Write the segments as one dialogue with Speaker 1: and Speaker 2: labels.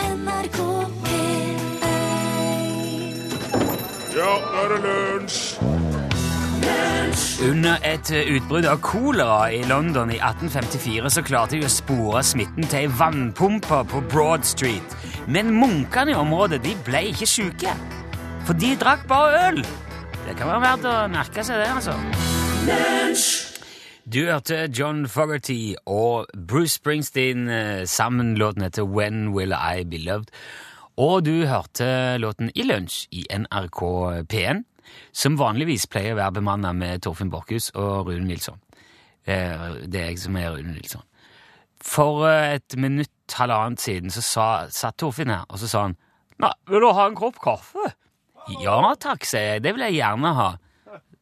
Speaker 1: NRK P1
Speaker 2: Ja, nå er det lunsj!
Speaker 3: Under et utbrudd av kolera i London i 1854 så klarte de å spore smitten til ei vannpumpe på Broad Street. Men munkene i området de ble ikke syke, for de drakk bare øl. Det kan være verdt å merke seg det, altså. Du hørte John Fogerty og Bruce Springsteen eh, sammen låten heter When Will I Be Loved. Og du hørte låten I lunsj i NRK P1, som vanligvis pleier å være bemanna med Torfinn Borchhus og Rune Nilsson. Eh, Det er jeg som er Rune Nilsson. For eh, et minutt, halvannet siden, så sa, satt Torfinn her, og så sa han Nei, vil du ha en kopp kaffe? Ja takk, sier jeg. Det vil jeg gjerne ha.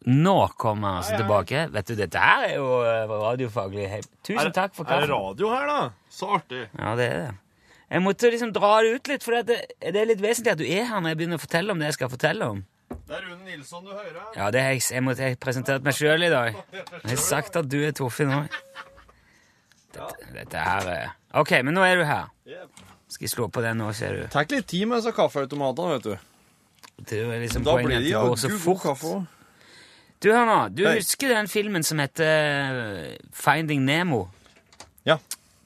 Speaker 3: Nå kommer han altså tilbake. Vet du, dette her er jo eh, radiofaglig he- Tusen takk for
Speaker 2: Er det
Speaker 3: kaffen.
Speaker 2: radio her, da? Så artig.
Speaker 3: Ja, det er det. Jeg måtte liksom dra det ut litt, for det, det er litt vesentlig at du er her når jeg begynner å fortelle om det jeg skal fortelle om.
Speaker 2: Det er Rune Nilsson du hører.
Speaker 3: Ja, det har jeg, jeg, måtte, jeg presenterte meg sjøl i dag. Jeg har sagt at du er Torfinn òg. Dette, dette her er OK, men nå er du her. Skal jeg slå på den nå, ser du.
Speaker 4: Tar ikke litt tid med disse kaffeautomatene, vet du.
Speaker 3: Det er liksom
Speaker 4: Da
Speaker 3: poenget
Speaker 4: blir
Speaker 3: at
Speaker 4: de
Speaker 3: det
Speaker 4: jo
Speaker 3: går så
Speaker 4: gud god
Speaker 3: fort.
Speaker 4: kaffe òg.
Speaker 3: Du, hør nå. Du
Speaker 4: Hei.
Speaker 3: husker den filmen som heter eh, Finding Nemo?
Speaker 4: Ja.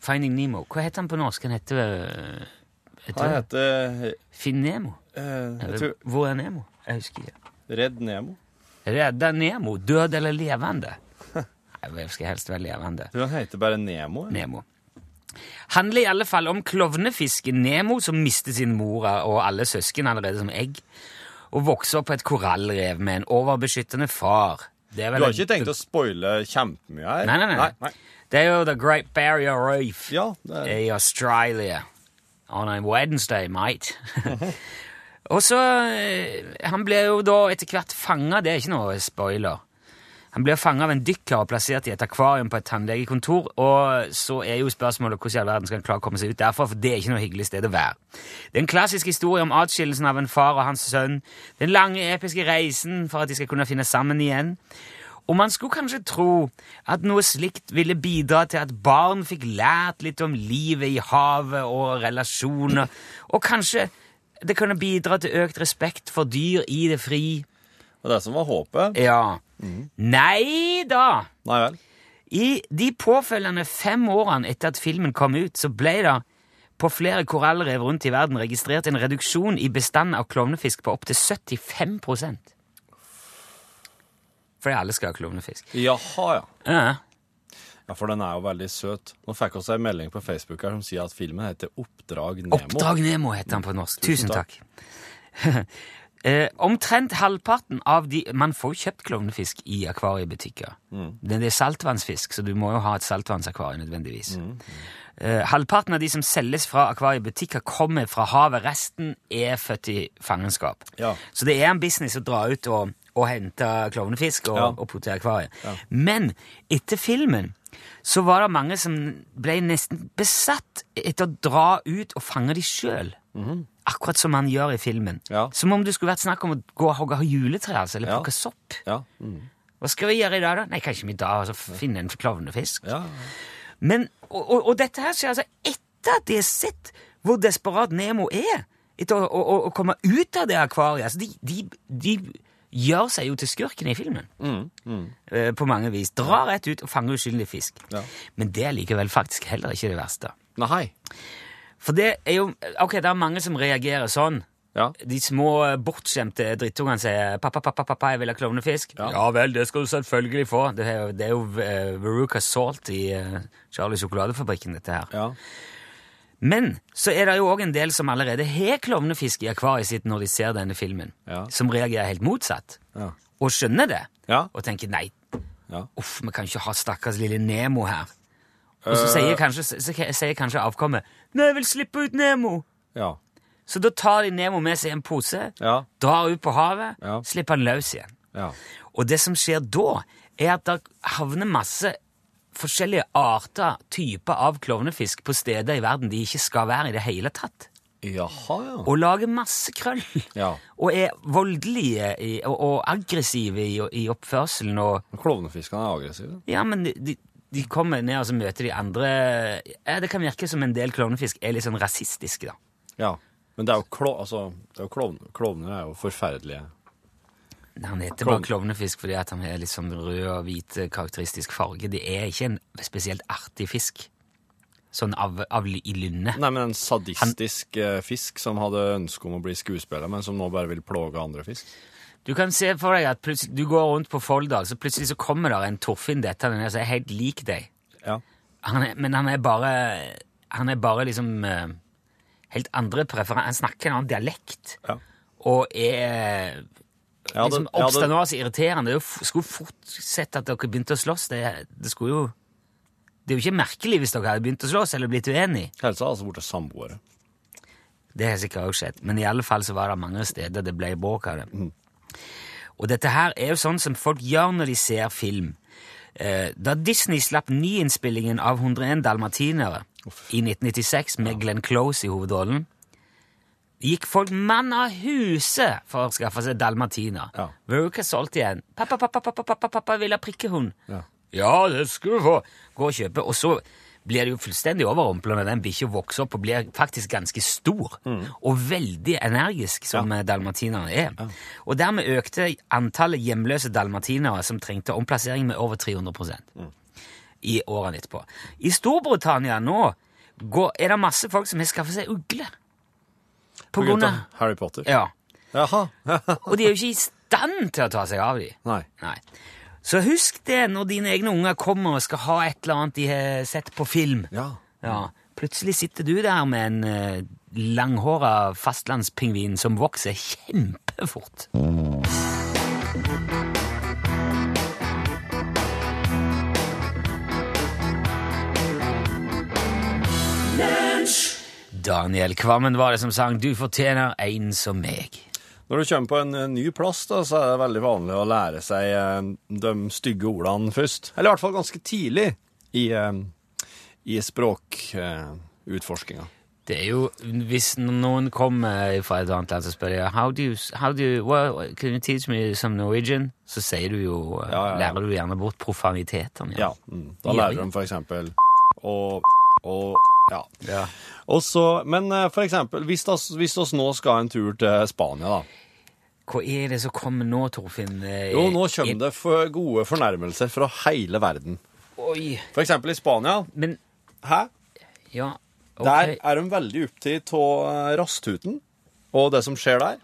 Speaker 3: Finding Nemo. Hva heter den på norsk? Den heter eh, jeg
Speaker 4: Han
Speaker 3: tror,
Speaker 4: heter
Speaker 3: Finn Nemo?
Speaker 4: eh, jeg
Speaker 3: Eller,
Speaker 4: tror
Speaker 3: Hvor er Nemo? Jeg husker ikke.
Speaker 4: Redd Nemo.
Speaker 3: Redda Nemo, død eller levende? Nei, vel, skal helst være levende.
Speaker 4: Tror han heter bare Nemo. eller?
Speaker 3: Nemo. Handler i alle fall om klovnefisken Nemo, som mister sin mor og alle søsken allerede som egg, og vokser opp på et korallrev med en overbeskyttende far. Det er vel
Speaker 4: Du har ikke tenkt å spoile kjempemye her?
Speaker 3: Nei, nei, nei. Det er jo The Great Barrier Reef
Speaker 4: Ja, det er
Speaker 3: i Australia. On a Wednesday, mate. og så eh, Han ble jo da etter hvert fanga, det er ikke noe spoiler. Han ble fanga av en dykker og plassert i et akvarium på et tannlegekontor. Og så er jo spørsmålet hvordan i all verden skal han klare å komme seg ut derfra, for det er ikke noe hyggelig sted å være. Det er en klassisk historie om atskillelsen av en far og hans sønn. Den lange, episke reisen for at de skal kunne finne sammen igjen. Og man skulle kanskje tro at noe slikt ville bidra til at barn fikk lært litt om livet i havet og relasjoner, og kanskje det kunne bidra til økt respekt for dyr i det fri.
Speaker 4: og det som var håpet. Mm.
Speaker 3: Ja. Nei da!
Speaker 4: Nei vel.
Speaker 3: I de påfølgende fem årene etter at filmen kom ut, så ble det på flere korallrev rundt i verden registrert en reduksjon i bestanden av klovnefisk på opptil 75 Fordi alle skal ha klovnefisk.
Speaker 4: Jaha, ja.
Speaker 3: Ja.
Speaker 4: Ja, For den er jo veldig søt. Nå fikk vi ei melding på Facebook her som sier at filmen heter Oppdrag Nemo.
Speaker 3: Oppdrag Nemo heter han på norsk. Tusen,
Speaker 4: Tusen
Speaker 3: takk. Eh, omtrent halvparten av de Man får jo kjøpt klovnefisk i akvariebutikker. Det det er saltvannsfisk, så du må jo ha et saltvannsakvarium nødvendigvis. Eh, halvparten av de som selges fra akvariebutikker, kommer fra havet. Resten er født i fangenskap.
Speaker 4: Ja.
Speaker 3: Så det er en business å dra ut og, og hente klovnefisk og,
Speaker 4: Ja.
Speaker 3: og putte i akvariet. Men etter filmen så var det mange som ble nesten besatt etter å dra ut og fange de sjøl. Akkurat som man gjør i filmen.
Speaker 4: Mhm. Ja.
Speaker 3: Som om det skulle vært snakk om å gå og hogge juletre altså, eller
Speaker 4: Ja.
Speaker 3: plukke sopp.
Speaker 4: Ja. Mm.
Speaker 3: Hva skal vi gjøre i dag, da? Nei, kanskje vi i dag altså, finne en klovnefisk?
Speaker 4: ja.
Speaker 3: Men, og, og, og dette her skjer altså etter at de har sett hvor desperat Nemo er. Etter å, å, å komme ut av det akvariet. Altså, de, de, de gjør seg jo til skurken i filmen. Eh, På mange vis. Drar rett ut og fanger uskyldig fisk.
Speaker 4: Ja.
Speaker 3: Men det er likevel faktisk heller ikke det verste.
Speaker 4: Nei.
Speaker 3: For det er jo Ok, det er mange som reagerer sånn.
Speaker 4: Ja.
Speaker 3: De små eh, bortskjemte drittungene sier 'pappa, pappa, pappa, jeg vil ha klovnefisk'. Ja. vel, det skal du selvfølgelig få. Det er jo, det er jo eh, Veruca Salt i eh, Charlie Sjokoladefabrikken, dette her.
Speaker 4: Ja.
Speaker 3: Men så er det jo òg en del som allerede har klovnefisk i akvariet sitt når de ser denne filmen,
Speaker 4: Ja.
Speaker 3: som reagerer helt motsatt,
Speaker 4: Ja.
Speaker 3: og skjønner det,
Speaker 4: Ja.
Speaker 3: og tenker 'nei,
Speaker 4: Ja.
Speaker 3: uff, vi kan ikke ha stakkars lille Nemo her'. Og
Speaker 4: Eh.
Speaker 3: så sier kanskje, så sier kanskje avkommet 'nei, jeg vil slippe ut Nemo'.
Speaker 4: Ja.
Speaker 3: Så da tar de Nemo med seg i en pose,
Speaker 4: Ja.
Speaker 3: drar ut på havet,
Speaker 4: Ja.
Speaker 3: slipper han løs igjen.
Speaker 4: Ja.
Speaker 3: Og det som skjer da, er at det havner masse forskjellige arter, typer av klovnefisk på steder i verden de ikke skal være i det hele tatt.
Speaker 4: Jaha, ja.
Speaker 3: Og lager masse krøll.
Speaker 4: Ja.
Speaker 3: Og er voldelige i, og, og aggressive i, i oppførselen og
Speaker 4: Klovnefiskene er aggressive.
Speaker 3: Ja, men de, de kommer ned og så møter de andre ja, Det kan virke som en del klovnefisk er litt sånn rasistiske, da.
Speaker 4: Ja. Men det er jo klo... Altså, det er jo klovn, klovner er jo forferdelige.
Speaker 3: Nei, Han heter bare klovnefisk fordi at han har litt sånn rød og hvit eh, karakteristisk farge. Det er ikke en spesielt artig fisk. Sånn av, av i lynne.
Speaker 4: Nei, men en sadistisk eh, fisk som hadde ønske om å bli skuespiller, men som nå bare vil plåge andre fisk.
Speaker 3: Du kan se for deg at plutselig- du går rundt på Folldal, så plutselig så kommer der en Torfinn dettende ned som er helt lik deg.
Speaker 4: Ja.
Speaker 3: Han er, men han er bare Han er bare liksom eh, Helt andre preferanser. Han snakker en annen dialekt
Speaker 4: Ja.
Speaker 3: og er eh,
Speaker 4: Jeg hadde,
Speaker 3: liksom
Speaker 4: jeg hadde,
Speaker 3: oppstandende og irriterende. Det er jo f- skulle fort sett at dere begynte å slåss. Det, det skulle jo Det er jo ikke merkelig hvis dere hadde begynt å slåss eller blitt uenige.
Speaker 4: helsa hadde altså blitt samboere.
Speaker 3: Det har sikkert også skjedd. Men i alle fall så var det mange steder det ble bråk av det.
Speaker 4: Mm.
Speaker 3: Og dette her er jo sånn som folk gjør når de ser film. Eh, Da Disney slapp nyinnspillingen av 101 dalmatinere i 1996 med Glenn Close i hovedrollen, gikk folk mann av huset for å skaffe seg dalmatiner.
Speaker 4: Ja.
Speaker 3: Veruca solgte igjen. 'Pappa, pappa, pappa, pappa, pappa vil ha prikkehund'.
Speaker 4: Ja.
Speaker 3: Ja, det skal du få. Gå og kjøpe. Og så blir det jo fullstendig overrumpla når den bikkja vokser opp og blir faktisk ganske stor. Og veldig energisk, som eh, dalmatinerne er. Og dermed økte antallet hjemløse dalmatinere som trengte omplassering, med over 300
Speaker 4: Mm.
Speaker 3: i årene etterpå. I Storbritannia nå går, er det masse folk som har skaffet seg ugle. På
Speaker 4: På grunn
Speaker 3: grunn
Speaker 4: av
Speaker 3: av
Speaker 4: Harry Potter.
Speaker 3: Ja.
Speaker 4: Jaha.
Speaker 3: Og de er jo ikke i stand til å ta seg av dem.
Speaker 4: Nei.
Speaker 3: Nei. Så husk det når dine egne unger kommer og skal ha et eller annet de har sett på film.
Speaker 4: Ja.
Speaker 3: Ja, Plutselig sitter du der med en eh, langhåra fastlandspingvin som vokser kjempefort. Daniel Kvammen var det som sang 'Du fortjener en som meg'.
Speaker 4: Når du kommer på en eh, ny plass, da, så er det veldig vanlig å lære seg eh, de stygge ordene først. Eller i hvert fall ganske tidlig i, eh, i språkutforskinga.
Speaker 3: Det er jo, Hvis noen kommer fra et annet land og spør jeg, how do you, how do you, well, Can you teach me some Norwegian? Så sier du jo,
Speaker 4: Ja, ja, ja.
Speaker 3: lærer du gjerne bort profanitetene.
Speaker 4: Ja, mm. da
Speaker 3: Ja,
Speaker 4: lærer
Speaker 3: ja.
Speaker 4: de for eksempel og, og ja. Og så, men eh, for eksempel, hvis oss, hvis oss nå skal en tur til Spania, da.
Speaker 3: Hva er det som kommer nå, Torfinn? Eh,
Speaker 4: Jo, nå kommer det for gode fornærmelser fra hele verden.
Speaker 3: Oi,
Speaker 4: For eksempel i Spania.
Speaker 3: men
Speaker 4: Hæ?
Speaker 3: Ja, ok.
Speaker 4: Der er de veldig opptatt av eh, rasthuten og det som skjer der.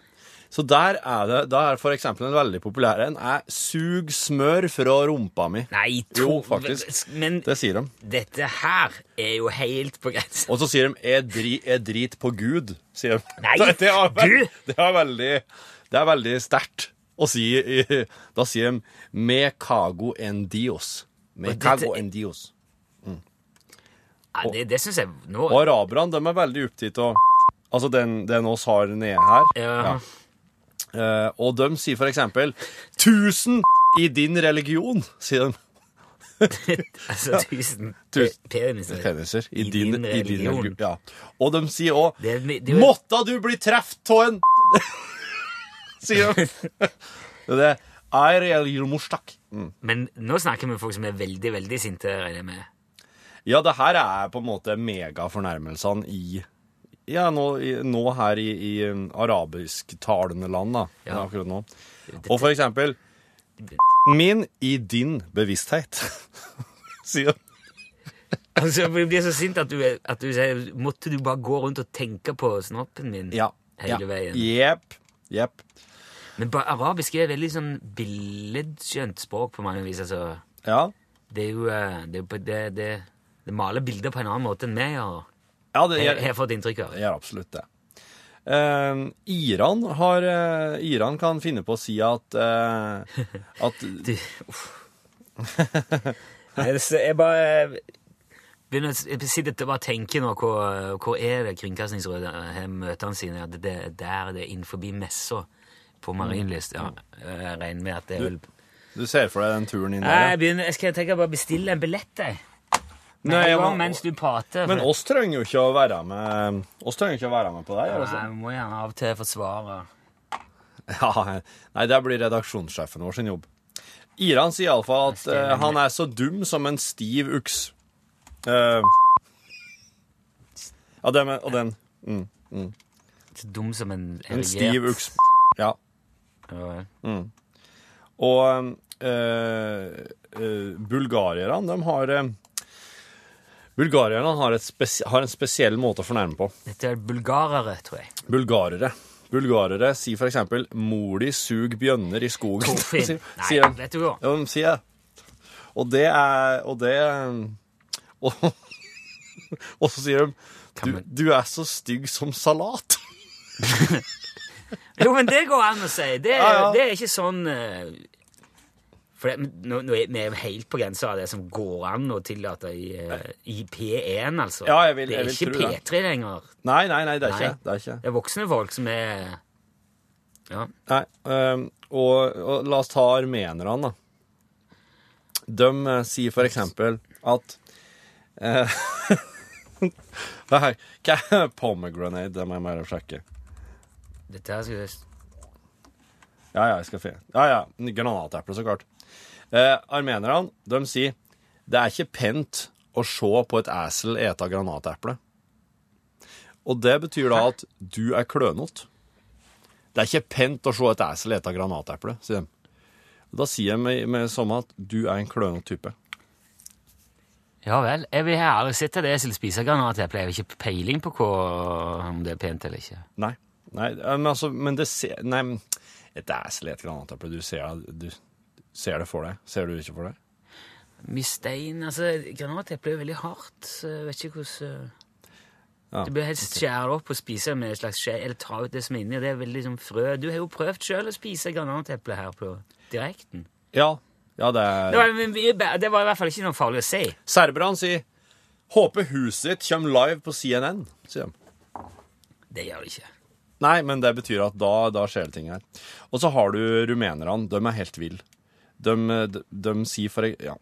Speaker 4: Så der er det der er for eksempel en veldig populær en er 'sug smør fra rumpa mi'.
Speaker 3: Nei,
Speaker 4: Jo,
Speaker 3: Tor-
Speaker 4: faktisk.
Speaker 3: Men
Speaker 4: Det sier de.
Speaker 3: dette her er jo helt på grensen.
Speaker 4: Og så sier de 'jeg dri, er drit på Gud'. sier de.
Speaker 3: Nei,
Speaker 4: det, det, er,
Speaker 3: Gud!
Speaker 4: veld, det er veldig, det er veldig sterkt å si i- Da sier de 'me cago en dios'. Me
Speaker 3: Og dette-
Speaker 4: cago en dios.
Speaker 3: Ja, det det syns jeg nå
Speaker 4: Og araberne de er veldig opptatt av Altså den, den oss har nede her.
Speaker 3: Ja.
Speaker 4: Eh, og de sier for eksempel 'tusen i din religion', sier de.
Speaker 3: Altså, tusen
Speaker 4: Tusen.
Speaker 3: pe- peniser.
Speaker 4: Peniser. I,
Speaker 3: I
Speaker 4: din,
Speaker 3: din
Speaker 4: i din
Speaker 3: religion.
Speaker 4: religion. Ja. Og de sier òg
Speaker 3: Det er mi- det er jo-
Speaker 4: 'Måtta du bli treft av en Sier de. det er religion morstak. Mm.
Speaker 3: Men nå snakker vi om folk som er veldig, veldig sinte, regner jeg med.
Speaker 4: Ja, det her er på en måte megafornærmelsene i ja, nå, i, nå her i, i um, arabisktalende land, da.
Speaker 3: Ja.
Speaker 4: Akkurat nå. Og for eksempel Min i din bevissthet, sier de.
Speaker 3: Altså, jeg blir så sint at du, er- at du sier Måtte du bare gå rundt og tenke på snoppen min
Speaker 4: Ja.
Speaker 3: hele veien?
Speaker 4: Jepp. Jepp.
Speaker 3: Men ba, arabisk er et veldig sånn billedskjønt språk på mange vis. altså.
Speaker 4: Ja.
Speaker 3: Det er jo eh, Det, er på- det, det, det maler bilder på en annen måte enn vi gjør.
Speaker 4: ja det,
Speaker 3: Jeg
Speaker 4: jeg,
Speaker 3: har fått inntrykk av.
Speaker 4: jeg gjør absolutt det. Eh, Iran, har, eh, Iran kan finne på å si at, eh, at
Speaker 3: Du, uff. Nei, det s- Jeg bare begynner, å s- jeg sitter og bare tenker nå hvor, hvor er det Kringkastingsrådet har møtene sine? At det er der det er innenfor messa på Marienlyst. Ja, jeg regner med at det er vel
Speaker 4: Mm. Du ser for deg den turen inn
Speaker 3: Nei,
Speaker 4: der?
Speaker 3: jeg,
Speaker 4: ja.
Speaker 3: begynner, jeg skal tenke bare bestille en billett, jeg.
Speaker 4: Nei,
Speaker 3: Nei,
Speaker 4: jeg må-
Speaker 3: men, mens du prater.
Speaker 4: Men oss trenger jo ikke å være med Oss trenger jo ikke å være med på deg.
Speaker 3: Nei,
Speaker 4: Altså.
Speaker 3: jeg må gjerne av og til forsvare.
Speaker 4: Ja, nei, det blir redaksjonssjefen vår sin jobb. Iran sier iallfall at eh, han er så dum som en stiv uks. Eh, ja, det med, og den mm.
Speaker 3: Så dum som en
Speaker 4: En stiv
Speaker 3: erigert-
Speaker 4: uks... Ja. Mm.
Speaker 3: Ja,
Speaker 4: Og um, eh, eh, bulgarierne, de har eh, Bulgarierne har, et spes- har en spesiell måte å fornærme på.
Speaker 3: Dette er bulgarere, tror jeg.
Speaker 4: Bulgarere. Bulgarere sier for eksempel 'mor di sug bjønner i skogen'.
Speaker 3: Torfinn.
Speaker 4: sier-
Speaker 3: Nei,
Speaker 4: sier de.
Speaker 3: vet du hva.
Speaker 4: Ja, de sier det. Og det er Og det Og, og så sier de
Speaker 3: Kan
Speaker 4: du,
Speaker 3: man-
Speaker 4: 'du er så stygg som salat'.
Speaker 3: Jo, men det går an å si. Det,
Speaker 4: Ja, ja.
Speaker 3: det er ikke sånn eh, For det, nå, nå er vi er helt på grensa av det som går an å tillate i, eh, i P1, altså.
Speaker 4: Ja, jeg vil-
Speaker 3: det
Speaker 4: jeg
Speaker 3: er
Speaker 4: vil
Speaker 3: ikke
Speaker 4: tro det.
Speaker 3: P3 lenger.
Speaker 4: Nei, nei, nei, det er
Speaker 3: Nei.
Speaker 4: ikke det. er ikke.
Speaker 3: Det er voksne folk som er Ja.
Speaker 4: Nei, ehm, og, og la oss ta armenerne, da. De eh, sier for eksempel at eh, Nei, hva er pomegranate? Det må jeg bare sjekke.
Speaker 3: Dette her skulle jeg-
Speaker 4: Ja, ja, jeg skal finne Ja, ja, granateple, så klart. Eh, armenerne, de sier det er ikke pent å se på et esel ete granateple. Og det betyr da at du er klønete. Det er ikke pent å se et esel ete granateple, sier de. Da sier jeg med, med som at du er en klønete type.
Speaker 3: Ja vel. Jeg vil her aldri sett et esel spise granater. Jeg pleier ikke peiling på hva, om det er pent eller ikke.
Speaker 4: Nei. Nei, eh, men altså, men det ser Nei, men et esel ete granateple, du ser, du ser det for deg. Ser du det ikke for deg?
Speaker 3: Mye stein Altså, granateple er veldig hardt. Så jeg vet ikke hvordan
Speaker 4: Ja,
Speaker 3: Du bør helst skjære det opp og spise det med et slags skje, eller ta ut det som er inni. og Det er veldig sånn frø. Du har jo prøvd sjøl å spise granateple her på direkten.
Speaker 4: Ja, ja det er
Speaker 3: Det var, men mye bæ- det var i hvert fall ikke noe farlig å si.
Speaker 4: Serberne sier 'Håper huset ditt kommer live på CNN', sier de.
Speaker 3: Det gjør det ikke.
Speaker 4: Nei, men det betyr at da, da skjer det ting her. Og så har du rumenerne. De er helt ville. De, de, de sier for e- Ja.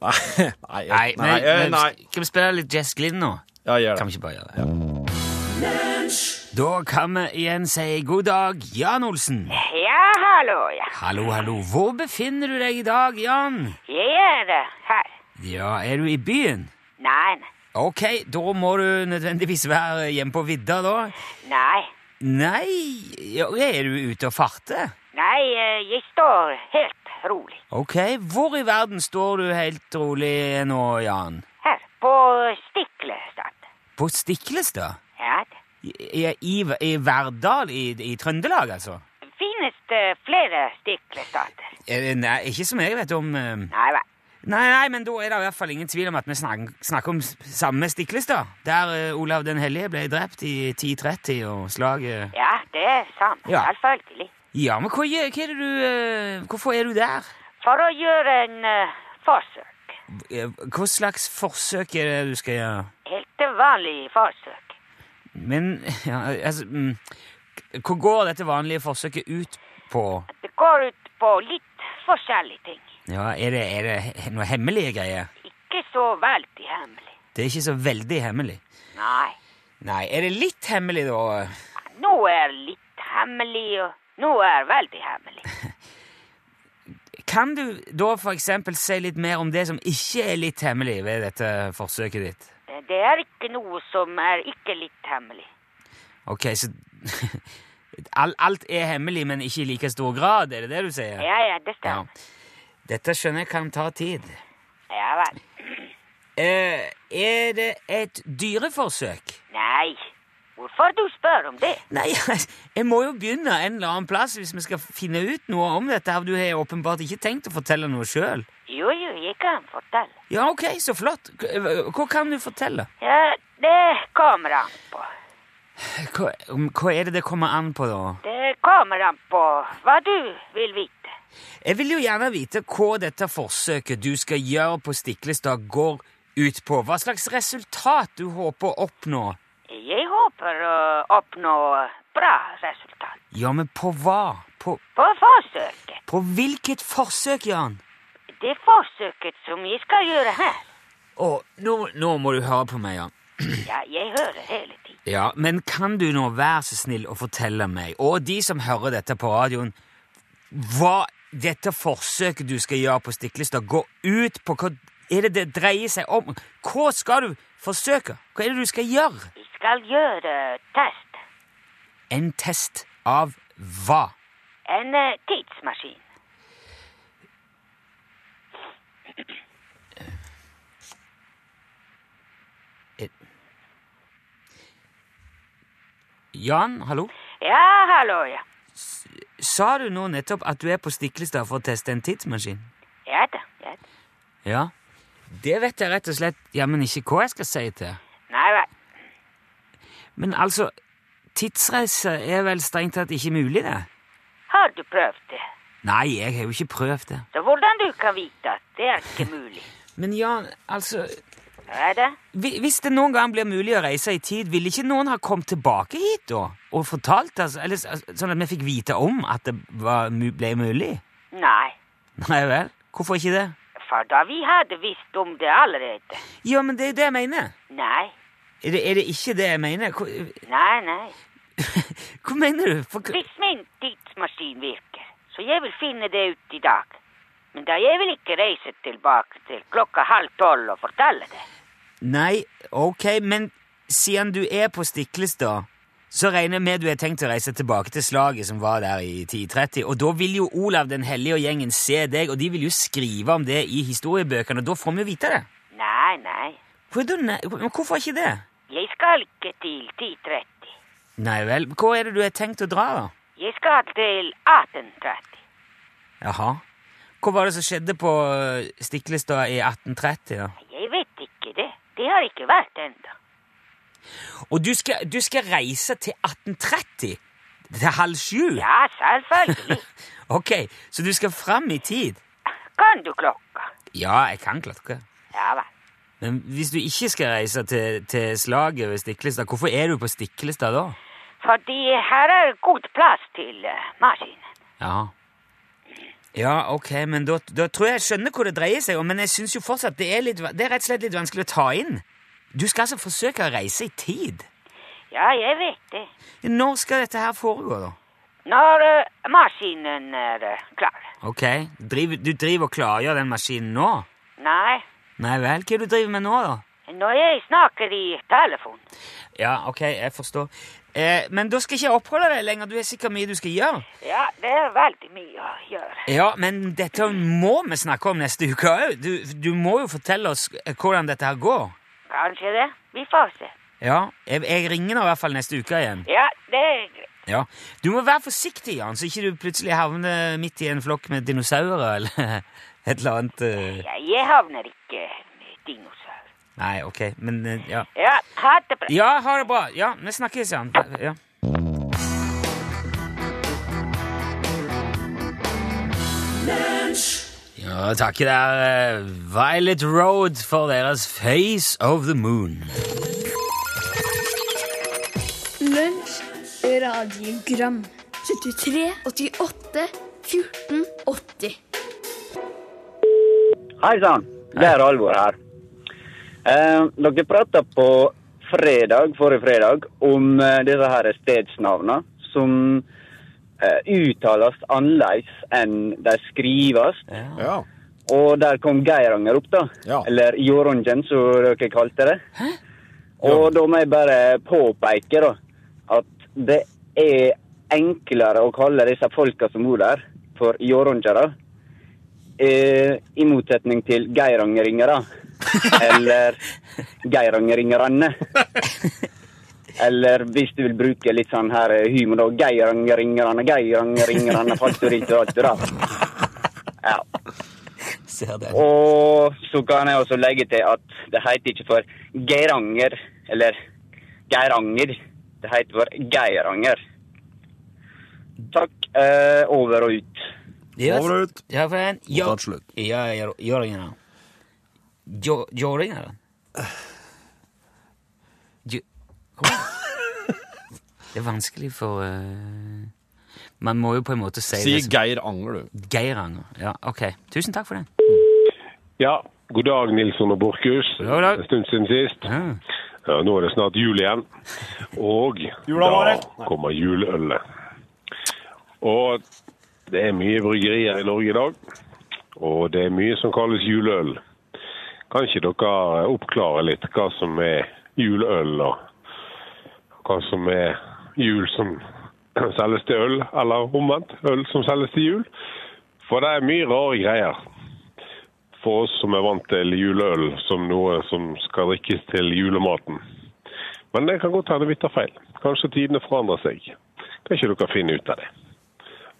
Speaker 4: Nei, nei,
Speaker 3: Nei,
Speaker 4: nei,
Speaker 3: men,
Speaker 4: eh,
Speaker 3: men
Speaker 4: nei.
Speaker 3: Skal vi spille litt Jess Glynn nå?
Speaker 4: Ja, gjør
Speaker 3: Kan
Speaker 4: det.
Speaker 3: vi ikke bare gjøre det? Da kan vi igjen si god dag, Jan Olsen.
Speaker 1: Ja, hallo, ja.
Speaker 3: Hallo, hallo. Hvor befinner du deg i dag, Jan?
Speaker 1: Jeg er eh, her.
Speaker 3: Ja, er du i byen?
Speaker 1: Nei,
Speaker 3: Ok, da må du nødvendigvis være hjemme på vidda, da.
Speaker 1: nei.
Speaker 3: Nei, ja, er du ute og farter?
Speaker 1: Nei, eh, jeg står helt rolig
Speaker 3: Ok, hvor i verden står du helt rolig nå, Jan?
Speaker 1: her på Stiklestad.
Speaker 3: På Stiklestad?
Speaker 1: Ja, det
Speaker 3: I, i, I Verdal i, i Trøndelag, altså?
Speaker 1: finnes det flere Stiklestader.
Speaker 3: Eh, Nei, ikke som jeg vet om. eh.
Speaker 1: Nei, hva?
Speaker 3: Nei, nei, men da er det i hvert fall ingen tvil om at vi snakker, snakker om s- samme Stiklestad, der eh, Olav den hellige ble drept i 1030 og slaget
Speaker 1: Ja, det er sant,
Speaker 3: Ja.
Speaker 1: selvfølgelig.
Speaker 3: Ja, men hva, gjør- hva er det du eh, Hvorfor er du der?
Speaker 1: For å gjøre en eh, forsøk,
Speaker 3: Eh, Hva slags forsøk er det du skal gjøre?
Speaker 1: helt vanlig forsøk.
Speaker 3: Men ja, altså mm, Hva går dette vanlige forsøket ut på?
Speaker 1: Det går ut på litt forskjellige ting.
Speaker 3: Ja, er det, er det he- noe hemmelige greier?
Speaker 1: Ikke så veldig hemmelig.
Speaker 3: Det er ikke så veldig hemmelig.
Speaker 1: Nei,
Speaker 3: Nei, er det litt hemmelig, da? eh?
Speaker 1: noe er litt hemmelig, og noe er veldig hemmelig.
Speaker 3: Kan du da for eksempel si litt mer om det som ikke er litt hemmelig ved dette forsøket ditt?
Speaker 1: Det er ikke noe som er ikke litt hemmelig.
Speaker 3: Ok, så all- Alt er hemmelig, men ikke i like stor grad, er det det du sier?
Speaker 1: Ja, ja, det
Speaker 3: Ja.
Speaker 1: stemmer.
Speaker 3: Dette skjønner jeg kan ta tid.
Speaker 1: Ja, vel.
Speaker 3: Eh, er det et dyreforsøk?
Speaker 1: Nei, hvorfor du spør om det?
Speaker 3: Nei, jeg må jo begynne en eller annen plass hvis vi skal finne ut noe om dette. her. Du har åpenbart ikke tenkt å fortelle noe sjøl.
Speaker 1: Jo, jo, jeg kan fortelle.
Speaker 3: Ja, ok, så flott. Hva hva kan du fortelle?
Speaker 1: Ja, det kommer an på.
Speaker 3: Hva, om- hva er det det kommer an på, da?
Speaker 1: Det kommer an på hva du vil vite.
Speaker 3: Jeg vil jo gjerne vite hva dette forsøket du skal gjøre på Stiklestad, går ut på. Hva slags resultat du håper å oppnå.
Speaker 1: Jeg håper å oppnå bra resultat.
Speaker 3: Ja, men på hva? På,
Speaker 1: På forsøket.
Speaker 3: på hvilket forsøk, Jan?
Speaker 1: Det forsøket som jeg skal gjøre her.
Speaker 3: Å, nå, nå må du høre på meg, Jan.
Speaker 1: Ja, jeg hører hele tiden.
Speaker 3: Ja, men kan du nå være så snill å fortelle meg, og de som hører dette på radioen, hva dette forsøket du skal gjøre på Stiklestad, går ut på? Hva er det det dreier seg om? Hva skal du forsøke? Hva er det du skal gjøre?
Speaker 1: Jeg skal gjøre test.
Speaker 3: En test av hva?
Speaker 1: En eh, tidsmaskin.
Speaker 3: Jan, hallo?
Speaker 1: Ja, hallo, ja.
Speaker 3: Sa du nå nettopp at du er på Stiklestad for å teste en tidsmaskin?
Speaker 1: Ja da. Ja da.
Speaker 3: Ja. Det vet jeg rett og slett jammen ikke hva jeg skal si til.
Speaker 1: Nei vel.
Speaker 3: Men altså, tidsreise er vel strengt tatt ikke mulig, det?
Speaker 1: Har du prøvd det?
Speaker 3: Nei, jeg har jo ikke prøvd det.
Speaker 1: Så hvordan du kan vite at det er ikke mulig?
Speaker 3: Men Jan, altså
Speaker 1: Hva er det?
Speaker 3: hvi- Hvis det noen gang blir mulig å reise i tid, ville ikke noen ha kommet tilbake hit da? Og fortalt oss, eller s- sånn at vi fikk vite om at det var, mu- ble mulig?
Speaker 1: Nei,
Speaker 3: Nei vel? Hvorfor ikke det?
Speaker 1: for da vi hadde visst om det allerede.
Speaker 3: Ja, men det er jo det jeg mener.
Speaker 1: Nei,
Speaker 3: Er det, er det ikke det jeg mener? Hva,
Speaker 1: nei, nei.
Speaker 3: hva mener du? Forkl-
Speaker 1: Hvis min tidsmaskin virker, så jeg vil finne det ut i dag. Men da jeg vil ikke reise tilbake til klokka halv tolv og fortelle det.
Speaker 3: Nei, ok, men siden du er på Stiklestad, så regner jeg med du har tenkt å reise tilbake til slaget som var der i 1030, og da vil jo Olav den hellige og gjengen se deg, og de vil jo skrive om det i historiebøkene, og da får vi jo vite det.
Speaker 1: Nei, nei.
Speaker 3: Hvor er du ne- Men hvorfor ikke det?
Speaker 1: Jeg skal ikke til 10.30.
Speaker 3: Nei vel, hvor er det du har tenkt å dra da?
Speaker 1: Jeg skal til 18.30.
Speaker 3: Jaha. Hva var det som skjedde på eh, Stiklestad i 1830 da?
Speaker 1: Jeg vet ikke det. Det har ikke vært enda.
Speaker 3: Og du skal, du skal reise til 1830? Til halv sju?
Speaker 1: Ja, selvfølgelig.
Speaker 3: Ok, så du skal fram i tid?
Speaker 1: Kan du klokka?
Speaker 3: Ja, jeg kan klatre.
Speaker 1: Ja vel.
Speaker 3: Men hvis du ikke skal reise til, til slaget ved Stiklestad, hvorfor er du på Stiklestad da?
Speaker 1: Fordi her er god plass til eh, maskinen.
Speaker 3: Ja. Ja, ok, men da, da tror jeg jeg skjønner hva det dreier seg om, men jeg syns jo fortsatt det er, litt, va- det er rett og slett litt vanskelig å ta inn. Du skal altså forsøke å reise i tid.
Speaker 1: Ja, jeg vet det.
Speaker 3: Når skal dette her foregå, da?
Speaker 1: Når eh, maskinen er eh, klar.
Speaker 3: Ok, driver- Du driver og klargjør den maskinen nå?
Speaker 1: Nei,
Speaker 3: Nei vel, hva er det du driver med nå, da?
Speaker 1: Når jeg snakker i telefon.
Speaker 3: Ja, ok, jeg forstår. Eh, men da skal ikke jeg oppholde deg lenger, du har sikkert mye du skal gjøre.
Speaker 1: Ja, det er veldig mye å gjøre.
Speaker 3: Ja, men dette må vi snakke om neste uke òg. Du, du må jo fortelle oss eh, hvordan dette her går.
Speaker 1: Kanskje det. Vi får se.
Speaker 3: Ja, jeg, jeg ringer nå i hvert fall neste uke igjen.
Speaker 1: Ja, det er greit.
Speaker 3: Ja. Du må være forsiktig, Jan, så ikke du plutselig havner midt i en flokk med dinosaurer eller et eller annet. eh.
Speaker 1: Ja, jeg havner ikke med dinosaur.
Speaker 3: Nei, ok, men eh, ja.
Speaker 1: Ja, ha det bra.
Speaker 3: Ja, ha det bra. Ja, vi snakkes, Jan. Ja. Ja, takk der, eh, Violet Road, for deres Face of the Moon.
Speaker 5: Lunsj, radiogram 73, 88, 14, 80
Speaker 6: Hei sann, det er Alvor her. Eh, dere prata på fredag, forrige fredag om eh, disse her stedsnavna som eh, uttales annerledes enn de skrives.
Speaker 4: Ja.
Speaker 6: Og der kom Geiranger opp, da.
Speaker 4: Ja.
Speaker 6: Eller Jorongen, som dere kalte det. Og da må jeg bare påpeke da, at det er enklere å kalle disse folka som bor der, for jorongere. Eh, I motsetning til geirangeringere. Eller geirangeringerne. Eller hvis du vil bruke litt sånn her eh, humor, da. Geirangeringerne, geirangeringerne, falt du riktig, falt du da. Ja.
Speaker 3: Ser det.
Speaker 6: Og så kan jeg også legge til at det heter ikke for Geiranger, eller Geiranger. Det heter for Geiranger. Takk. Eh, over og ut.
Speaker 3: Ja,
Speaker 4: Over og ut.
Speaker 3: Ja, for en. Ja,
Speaker 4: Mottatt slutt.
Speaker 3: Ja, ja, Jørgen. Jo- Jørgen, eller? Jo- Kom igjen. Det er vanskelig for eh, Man må jo på en måte si,
Speaker 4: Si
Speaker 3: det som
Speaker 4: Geir Anger, du.
Speaker 3: Geiranger. Ja, ok. Tusen takk for det.
Speaker 7: Ja, god dag, Nilsson og Borchhus.
Speaker 3: God dag.
Speaker 7: En stund siden sist.
Speaker 3: Ja.
Speaker 7: Ja, nå er det snart jul igjen. Og
Speaker 4: Jula var det.
Speaker 7: da kommer juleølet. Og det er mye bryggerier i Norge i dag. Og det er mye som kalles juleøl. Kan ikke dere oppklare litt hva som er juleøl, og hva som er jul som selges til øl, eller omvendt, øl som selges til jul. For det er mye rare greier. For oss som er vant til juleøl som noe som skal drikkes til julematen. Men det kan godt hende vi tar feil. Kanskje tidene forandrer seg. Kanskje dere finner ut av det.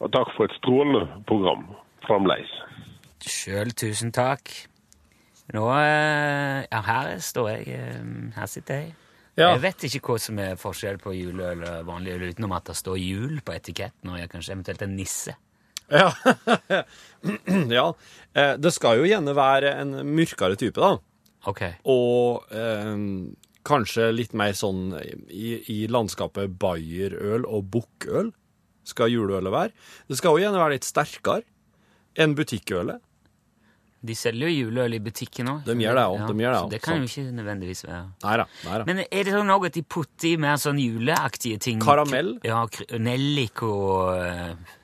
Speaker 7: Og takk for et strålende program fremdeles.
Speaker 3: Sjøl tusen takk. Nå eh, Ja, her står jeg. eh, Her sitter jeg.
Speaker 4: Ja.
Speaker 3: Jeg vet ikke hva som er forskjell på juleøl og vanlig øl, utenom at det står jul på etiketten, og jeg kanskje eventuelt en nisse.
Speaker 4: Ja. ja. Eh, Det skal jo gjerne være en mørkere type, da.
Speaker 3: Ok.
Speaker 4: Og eh, kanskje litt mer sånn i, i landskapet bayerøl og bukkøl skal juleølet være. Det skal jo gjerne være litt sterkere enn butikkølet.
Speaker 3: De selger jo juleøl i butikken òg.
Speaker 4: De gjør det også, de gjør det altså.
Speaker 3: Så
Speaker 4: også,
Speaker 3: det kan jo
Speaker 4: sant.
Speaker 3: ikke nødvendigvis være
Speaker 4: Nei da. Nei da.
Speaker 3: Men er det sånn også at de putter i mer sånn juleaktige ting?
Speaker 4: Karamell?
Speaker 3: Ja, kr- nellik og eh,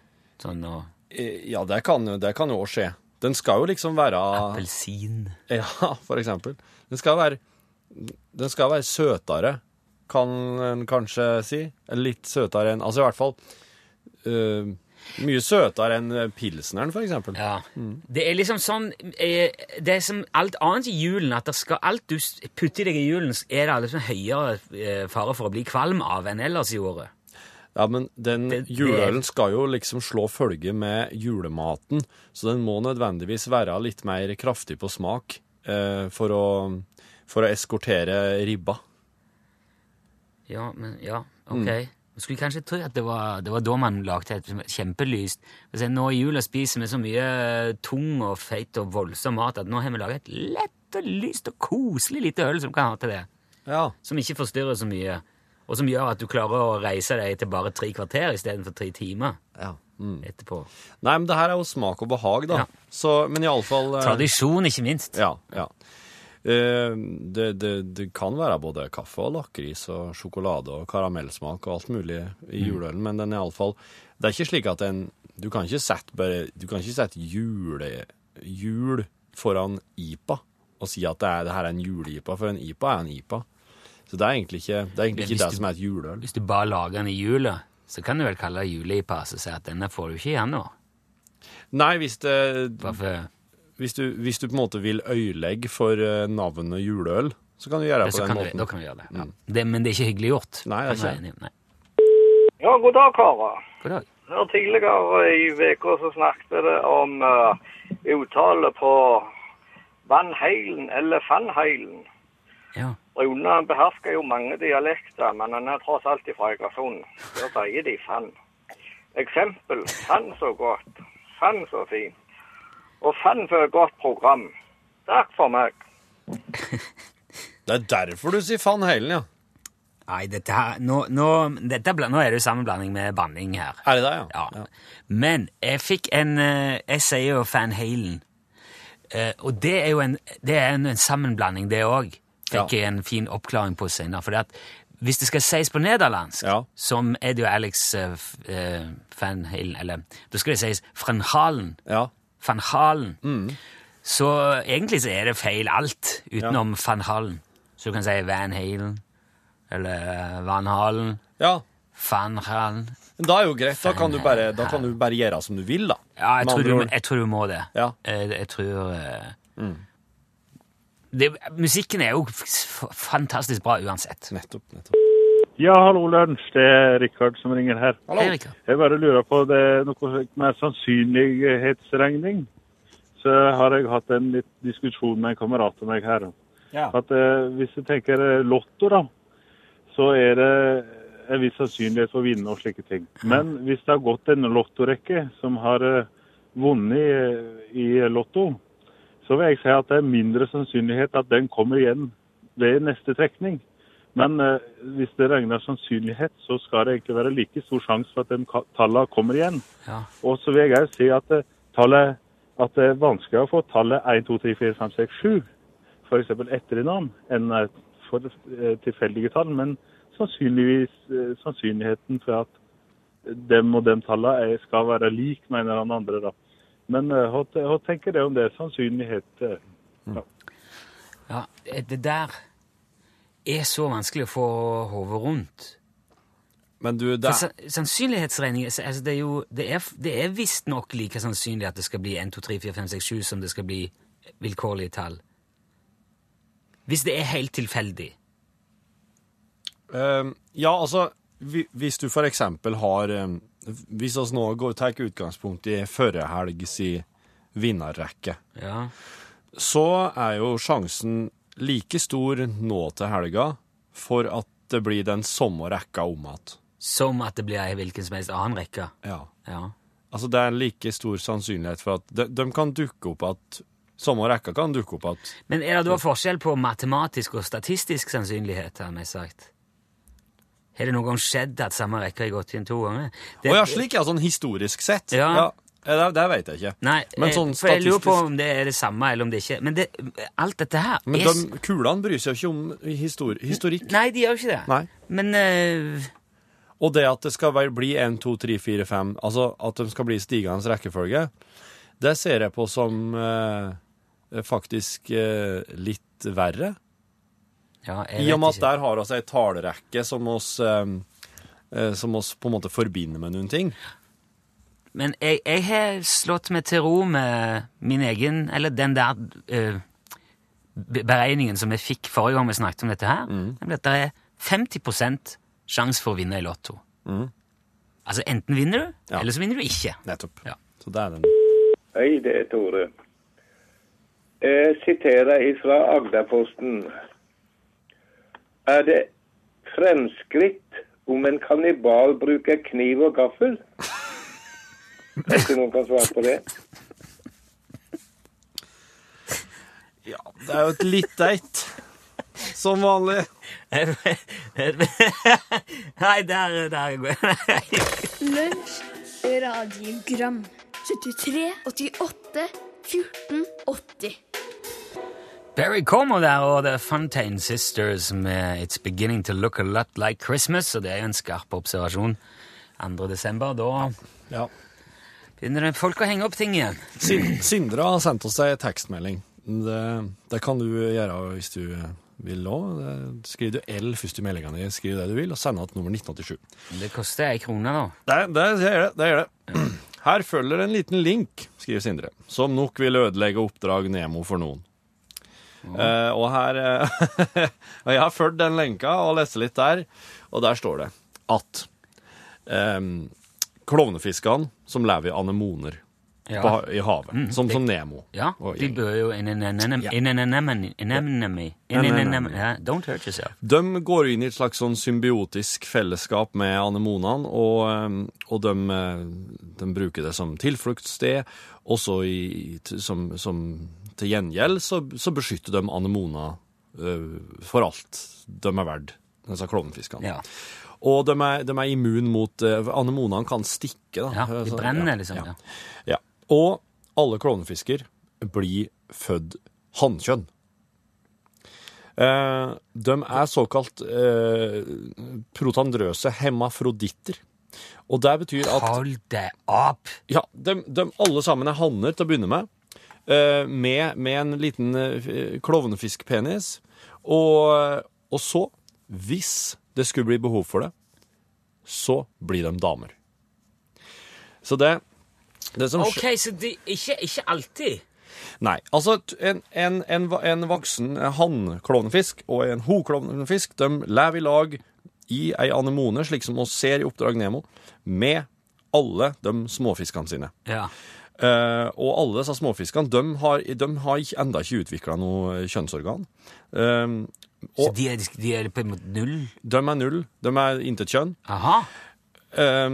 Speaker 3: sånn og
Speaker 4: Eh, Ja, det kan, jo- det kan jo òg skje. Den skal jo liksom være
Speaker 3: appelsin.
Speaker 4: Ja, for eksempel. Den skal være, den skal være søtere, kan en kanskje si. Litt søtere enn Altså i hvert fall øh, mye søtere enn pilsneren, for eksempel. Mm.
Speaker 3: Ja. Det er liksom sånn eh, Det er som alt annet i julen, at det skal alt du s- putter i deg i julen, s- er det liksom høyere eh, fare for å bli kvalm av enn ellers i året.
Speaker 4: Ja, men den
Speaker 3: Det- det-
Speaker 4: juleølen skal jo liksom slå følge med julematen, så den må nødvendigvis være litt mer kraftig på smak eh, for, å, for å eskortere ribba.
Speaker 3: Ja, men Ja,
Speaker 4: Mm.
Speaker 3: ok. Man skulle kanskje tro at det var, det var da man lagde et kjempelyst altså, Nå i jula spiser vi så mye tung og feit og voldsom mat at nå har vi laget et lett og lyst og koselig lite øl som kan ha til det.
Speaker 4: Ja.
Speaker 3: Som ikke forstyrrer så mye, og som gjør at du klarer å reise deg til bare tre kvarter istedenfor tre timer
Speaker 4: ja.
Speaker 3: etterpå.
Speaker 4: Mm. Nei, men det her er jo smak og behag, da.
Speaker 3: Ja.
Speaker 4: Så, men iallfall
Speaker 3: Tradisjon, ikke minst.
Speaker 4: Ja, ja. Eh, det, det, det kan være både kaffe og lakris og sjokolade og karamellsmak og alt mulig
Speaker 3: Mm.
Speaker 4: i juleølen, men den er iallfall Det er ikke slik at en Du kan ikke sette bare Du kan ikke sette jule, jul foran IPA og si at det, er, det her er en jule-IPA, for en IPA er en IPA. Så det er egentlig ikke det, er egentlig
Speaker 3: Men hvis
Speaker 4: ikke det
Speaker 3: du-
Speaker 4: som er et juleøl.
Speaker 3: Hvis du bare lager den i jula, så kan du vel kalle det juleipas og si at denne får du ikke i januar.
Speaker 4: Nei, hvis, det,
Speaker 3: Bare for,
Speaker 4: hvis, du, hvis du på en måte vil øyelegge for eh, navnet juleøl, så kan du gjøre det på
Speaker 3: så
Speaker 4: den
Speaker 3: kan du,
Speaker 4: måten. Mm.
Speaker 3: da kan du gjøre det. Ja. det. Men det er ikke hyggelig gjort.
Speaker 4: Nei, det
Speaker 3: Kan
Speaker 4: er ikke
Speaker 3: være enig i. Nei.
Speaker 8: Ja, god dag, karer.
Speaker 3: God dag.
Speaker 8: Her tidligere i uka så snakket dere om eh, uttale på Vannheilen eller Fannheilen.
Speaker 3: Ja.
Speaker 8: Rune behersker jo mange dialekter, men han er tross alt fra Egersund. Da sier de Fann. Eksempel Fann så godt, Fann så fint, og Fann for et godt program. Takk for meg.
Speaker 4: Det er derfor du sier Van Halen, ja.
Speaker 3: Nei, dette her Nå, nå, dette, er bla- nå er det jo sammenblanding med banning her.
Speaker 4: Er det det, ja?
Speaker 3: Ja. Men jeg fikk en eh, Jeg sier jo Van Halen. Eh, og det er jo en, det er en, en sammenblanding, det òg, fikk
Speaker 4: Ja.
Speaker 3: jeg en fin oppklaring på senere. For at hvis det skal sies på nederlandsk,
Speaker 4: Ja.
Speaker 3: som er det jo Alex eh, f- eh, Van Halen Eller da skal det sies Van Halen.
Speaker 4: Ja. Mm.
Speaker 3: Van Halen. Så egentlig så er det feil alt utenom Van Halen. Så du kan si Van Halen eller eh, Van Halen.
Speaker 4: ja.
Speaker 3: Van Halen.
Speaker 4: Men da er jo greit. Da kan du bare, da kan du bare gjøre som du vil, da.
Speaker 3: Ja, jeg
Speaker 4: Med
Speaker 3: tror,
Speaker 4: andre
Speaker 3: du,
Speaker 4: ord. Mm.
Speaker 3: jeg tror du må det.
Speaker 4: Ja.
Speaker 3: Eh, Jeg, tror eh, det, Musikken er jo f- f- fantastisk bra uansett.
Speaker 4: Nettopp. nettopp.
Speaker 9: Ja, hallo, Lunsj. Det er Rikard som ringer her.
Speaker 3: Hei, Rikard.
Speaker 9: Jeg bare lurer på det er noe med sannsynlighetsregning. Så har jeg hatt en litt diskusjon med en kamerat av meg her.
Speaker 4: Ja.
Speaker 9: At eh, hvis du tenker eh, lotto, da, så er det en viss sannsynlighet for å vinne og slike ting. Men hvis det har gått en lottorekke som har eh, vunnet eh, i lotto, så vil jeg si at det er mindre sannsynlighet at den kommer igjen ved neste trekning. Men eh, hvis det regner sannsynlighet, så skal det egentlig være like stor sjanse for at de ka- tallene kommer igjen.
Speaker 3: Ja.
Speaker 9: Og så vil jeg også si at, eh, tallet, at det er vanskeligere å få tallet 1, 2, 3, 4, 5, 6, 7, f.eks. etter i navn, enn eh, for eh, tilfeldige tall. Men sannsynligvis eh, sannsynligheten for at dem og dem tallene er, skal være lik med en eller annen andre. da. Men eh, hva, te- hva tenker dere om det? Sannsynlighet? eh?
Speaker 3: Eh, Ja, det der er så vanskelig å få hodet rundt.
Speaker 4: Men du, det
Speaker 3: For
Speaker 4: er
Speaker 3: san- sannsynlighetsregning altså, altså, det er jo Det er, f- det er visstnok like sannsynlig at det skal bli 1, 2, 3, 4, 5, 6, 7 som det skal bli vilkårlige tall. Hvis det er helt tilfeldig.
Speaker 4: Ehm, Ja, altså, hvi- hvis du for eksempel har ehm, Hvis oss nå går- tar utgangspunkt i førre helgs i vinnerrekke,
Speaker 3: Ja.
Speaker 4: så er jo sjansen like stor nå til helga for at det blir den samme rekka om igjen.
Speaker 3: Som at det blir ei hvilken som helst annen rekke.
Speaker 4: Ja.
Speaker 3: Ja.
Speaker 4: Altså, det er like stor sannsynlighet for at de, de kan dukke opp at Samme rekka kan dukke opp at
Speaker 3: Men er det da forskjell på matematisk og statistisk sannsynlighet, har vi sagt? Har det noen gang skjedd at samme rekke har gått inn to ganger?
Speaker 4: Å ja, slik, ja. Sånn historisk sett.
Speaker 3: Ja.
Speaker 4: ja det, det vet jeg ikke.
Speaker 3: Nei,
Speaker 4: Men
Speaker 3: eh,
Speaker 4: sånn
Speaker 3: for jeg lurer på
Speaker 4: statistisk-
Speaker 3: om det er det samme, eller om det ikke er Men det, alt dette her
Speaker 4: Men
Speaker 3: er s-
Speaker 4: de kulene bryr seg jo ikke om histori historikk.
Speaker 3: Nei, de gjør jo ikke det.
Speaker 4: Nei.
Speaker 3: Men eh,
Speaker 4: Og det at det skal vel bli 1, 2, 3, 4, 5 Altså at de skal bli i stigende rekkefølge, det ser jeg på som eh, faktisk eh, litt verre.
Speaker 3: ja, jeg
Speaker 4: I og
Speaker 3: vet
Speaker 4: med at
Speaker 3: ikke.
Speaker 4: der har vi ei talerekke som oss eh, eh, som oss på en måte forbinder med noen ting.
Speaker 3: Men jeg, jeg har slått meg til ro med min egen Eller den der eh, be- beregningen som jeg fikk forrige gang vi snakket om dette her.
Speaker 4: Mm.
Speaker 3: Nemlig at det er 50 sjanse for å vinne i Lotto. Altså enten vinner du,
Speaker 4: Mm. Ja.
Speaker 3: eller så vinner du ikke.
Speaker 4: Nettopp.
Speaker 3: Ja.
Speaker 4: Så det er den.
Speaker 10: Hei, det er Tore. Jeg siterer ifra Agderposten. Er det fremskritt om en kannibal bruker kniv og gaffel? Hvis noen kan svare på det.
Speaker 4: Ja, det er jo et litt eit. Som vanlig.
Speaker 3: Nei, der, der går jeg. Nei.
Speaker 5: Lunsj radiogram 73 88 14 80
Speaker 3: Barry Como der og The Fontaine Sisters med It's Beginning to Look a Lot Like Christmas, og det er jo en skarp observasjon. 2. desember, da
Speaker 4: Ja.
Speaker 3: begynner det folk å henge opp ting igjen.
Speaker 4: Sin- Sindre har sendt oss ei tekstmelding. Det, det kan du gjøre hvis du vil òg. Skriv du L først i meldinga di, skriv det du vil, og send att nummer 1987.
Speaker 3: Det koster ei krone, da.
Speaker 4: Det, det, det gjør det. det, gjør det. Her følger en liten link, skriver Sindre, som nok vil ødelegge oppdrag Nemo for noen. Eh, og her eh, Og jeg har fulgt den lenka og lest litt der, og der står det at eh, klovnefiskene som lever i anemoner
Speaker 3: Ja.
Speaker 4: på, ha- i havet, som, som Nemo
Speaker 3: Ja,
Speaker 4: og
Speaker 3: de
Speaker 4: gjengen.
Speaker 3: bør jo in an anem-
Speaker 4: Ja.
Speaker 3: in an anemone- anemone- in an anemone- ja, Don't hurt yourself.
Speaker 4: De går jo inn i et slags sånn symbiotisk fellesskap med anemonene, og, ehm, og de, eh, de bruker det som tilfluktssted. Og så i- til- som, som til gjengjeld så, så beskytter de anemoner eh, for alt de er verdt, disse klovnefiskene.
Speaker 3: Ja.
Speaker 4: Og de er, de er immune mot eh, Anemonene kan stikke, da.
Speaker 3: Ja, de
Speaker 4: Så-
Speaker 3: brenner, liksom, ja.
Speaker 4: ja. Og alle klovnefisker blir født hannkjønn. Eh, de er såkalt eh, protandrøse hemafroditter. Og det betyr at
Speaker 3: Hold deg opp!
Speaker 4: ja, de, de alle sammen er hanner til å begynne med. eh, med, med en liten eh, klovnefiskpenis. Og, og så, hvis det skulle bli behov for det, så blir de damer. Så det, det som skj-
Speaker 3: OK, så de, ikke, ikke alltid.
Speaker 4: Nei. Altså, t- en, en, en, va- en voksen eh, hann-klovnefisk og en ho-klovnefisk de lever i lag i ei anemone, slik som vi ser i Oppdrag Nemo, med alle de småfiskene sine.
Speaker 3: Ja.
Speaker 4: Eh, og alle disse småfiskene, de har, de har ikke, enda ikke utvikla noe kjønnsorgan. Eh,
Speaker 3: Så de er, de er på en måte null?
Speaker 4: de er null. De er intet kjønn.
Speaker 3: Aha.
Speaker 4: Eh,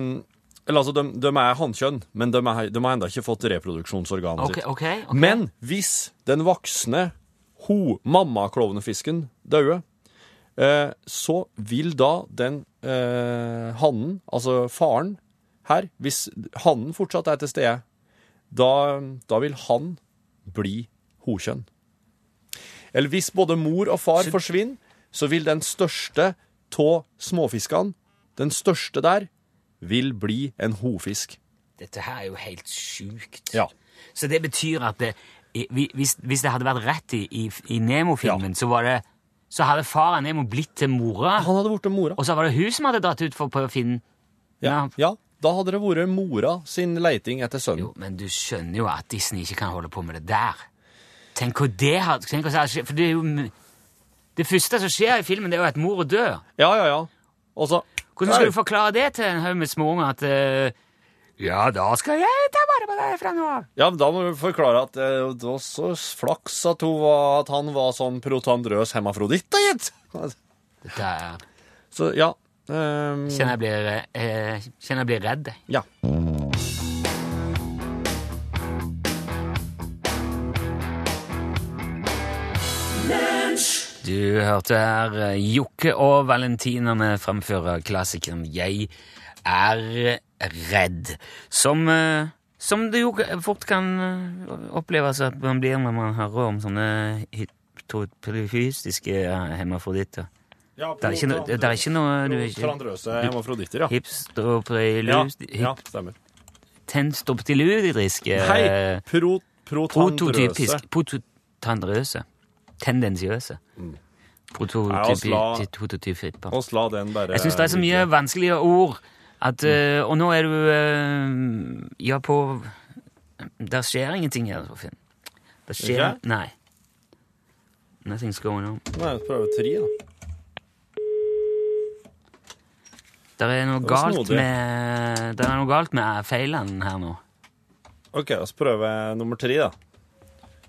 Speaker 4: eller altså, de, de er hannkjønn, men de, er, de har enda ikke fått reproduksjonsorganet
Speaker 3: OK,
Speaker 4: sitt.
Speaker 3: OK. ok.
Speaker 4: Men hvis den voksne ho-mamma-klovnefisken dauer, eh, så vil da den eh, hannen, altså faren her, hvis hannen fortsatt er til stede, da, da vil han bli hokjønn. Eller hvis både mor og far forsvinner, så vil den største av småfiskene, den største der, vil bli en hofisk.
Speaker 3: Dette her er jo helt sjukt.
Speaker 4: Ja.
Speaker 3: Så det betyr at det, i- vi- hvis, hvis det hadde vært rett i, i, i Nemo-filmen, så var det så hadde faren Nemo blitt til mora.
Speaker 4: Han hadde blitt til mora.
Speaker 3: Og så var det hun som hadde dratt ut for å prøve å finne
Speaker 4: Ja, ja, da hadde det vært mora sin leiting etter sønnen.
Speaker 3: Jo, men du skjønner jo at Disney ikke kan holde på med det der. Tenk hva det har tenk hva som har skjedd, For det er jo Det første som skjer i filmen, det er jo at mor dør.
Speaker 4: Ja, ja, ja. Og så
Speaker 3: Hvordan skal du forklare det til en haug med småunger at eh, Ja, da skal jeg ta vare på deg fra nå av.
Speaker 4: Ja, men da må du forklare at eh, det var så flaks at, hun var, at han var sånn protandrøs hemafroditt, da, gitt!
Speaker 3: Dette er-
Speaker 4: Så ja ehm,
Speaker 3: Kjenner jeg blir, eh, kjenner jeg blir redd.
Speaker 4: Ja.
Speaker 3: Du hørte her eh, Jokke og Valentinerne fremføre klassikeren Jeg er redd, som, eh, som det jo fort kan eh, oppleves at man blir når man hører om sånne hypotofysiske hemafroditter.
Speaker 4: Ja,
Speaker 3: Det er ikke noe- det er ikke noe- du er ikke-
Speaker 4: Protandrøse hemafroditter, ja. Ja,
Speaker 3: Hipstropreilus
Speaker 4: ja, stemmer.
Speaker 3: Tenstoptiludriske eh,
Speaker 4: Hei, pro, protandrøse.
Speaker 3: Prototypisk Prototandrøse. Tendensiøse.
Speaker 4: Nei, oss la- Eh,
Speaker 3: Prototypi- prototyper.
Speaker 4: Oss la den bare
Speaker 3: Jeg syns det er så mye vanskelige ord at
Speaker 4: Mm.
Speaker 3: eh, Og nå er du eh, Ja, på Der skjer ingenting her, Finn. Det skjer
Speaker 4: Ikke?
Speaker 3: Nei. Nothing's going on.
Speaker 4: Nei, prøve tre, da.
Speaker 3: Det er noe
Speaker 4: Det var
Speaker 3: galt
Speaker 4: snodig.
Speaker 3: med Det er noe galt med feilene her nå.
Speaker 4: OK, la oss prøve nummer tre, da.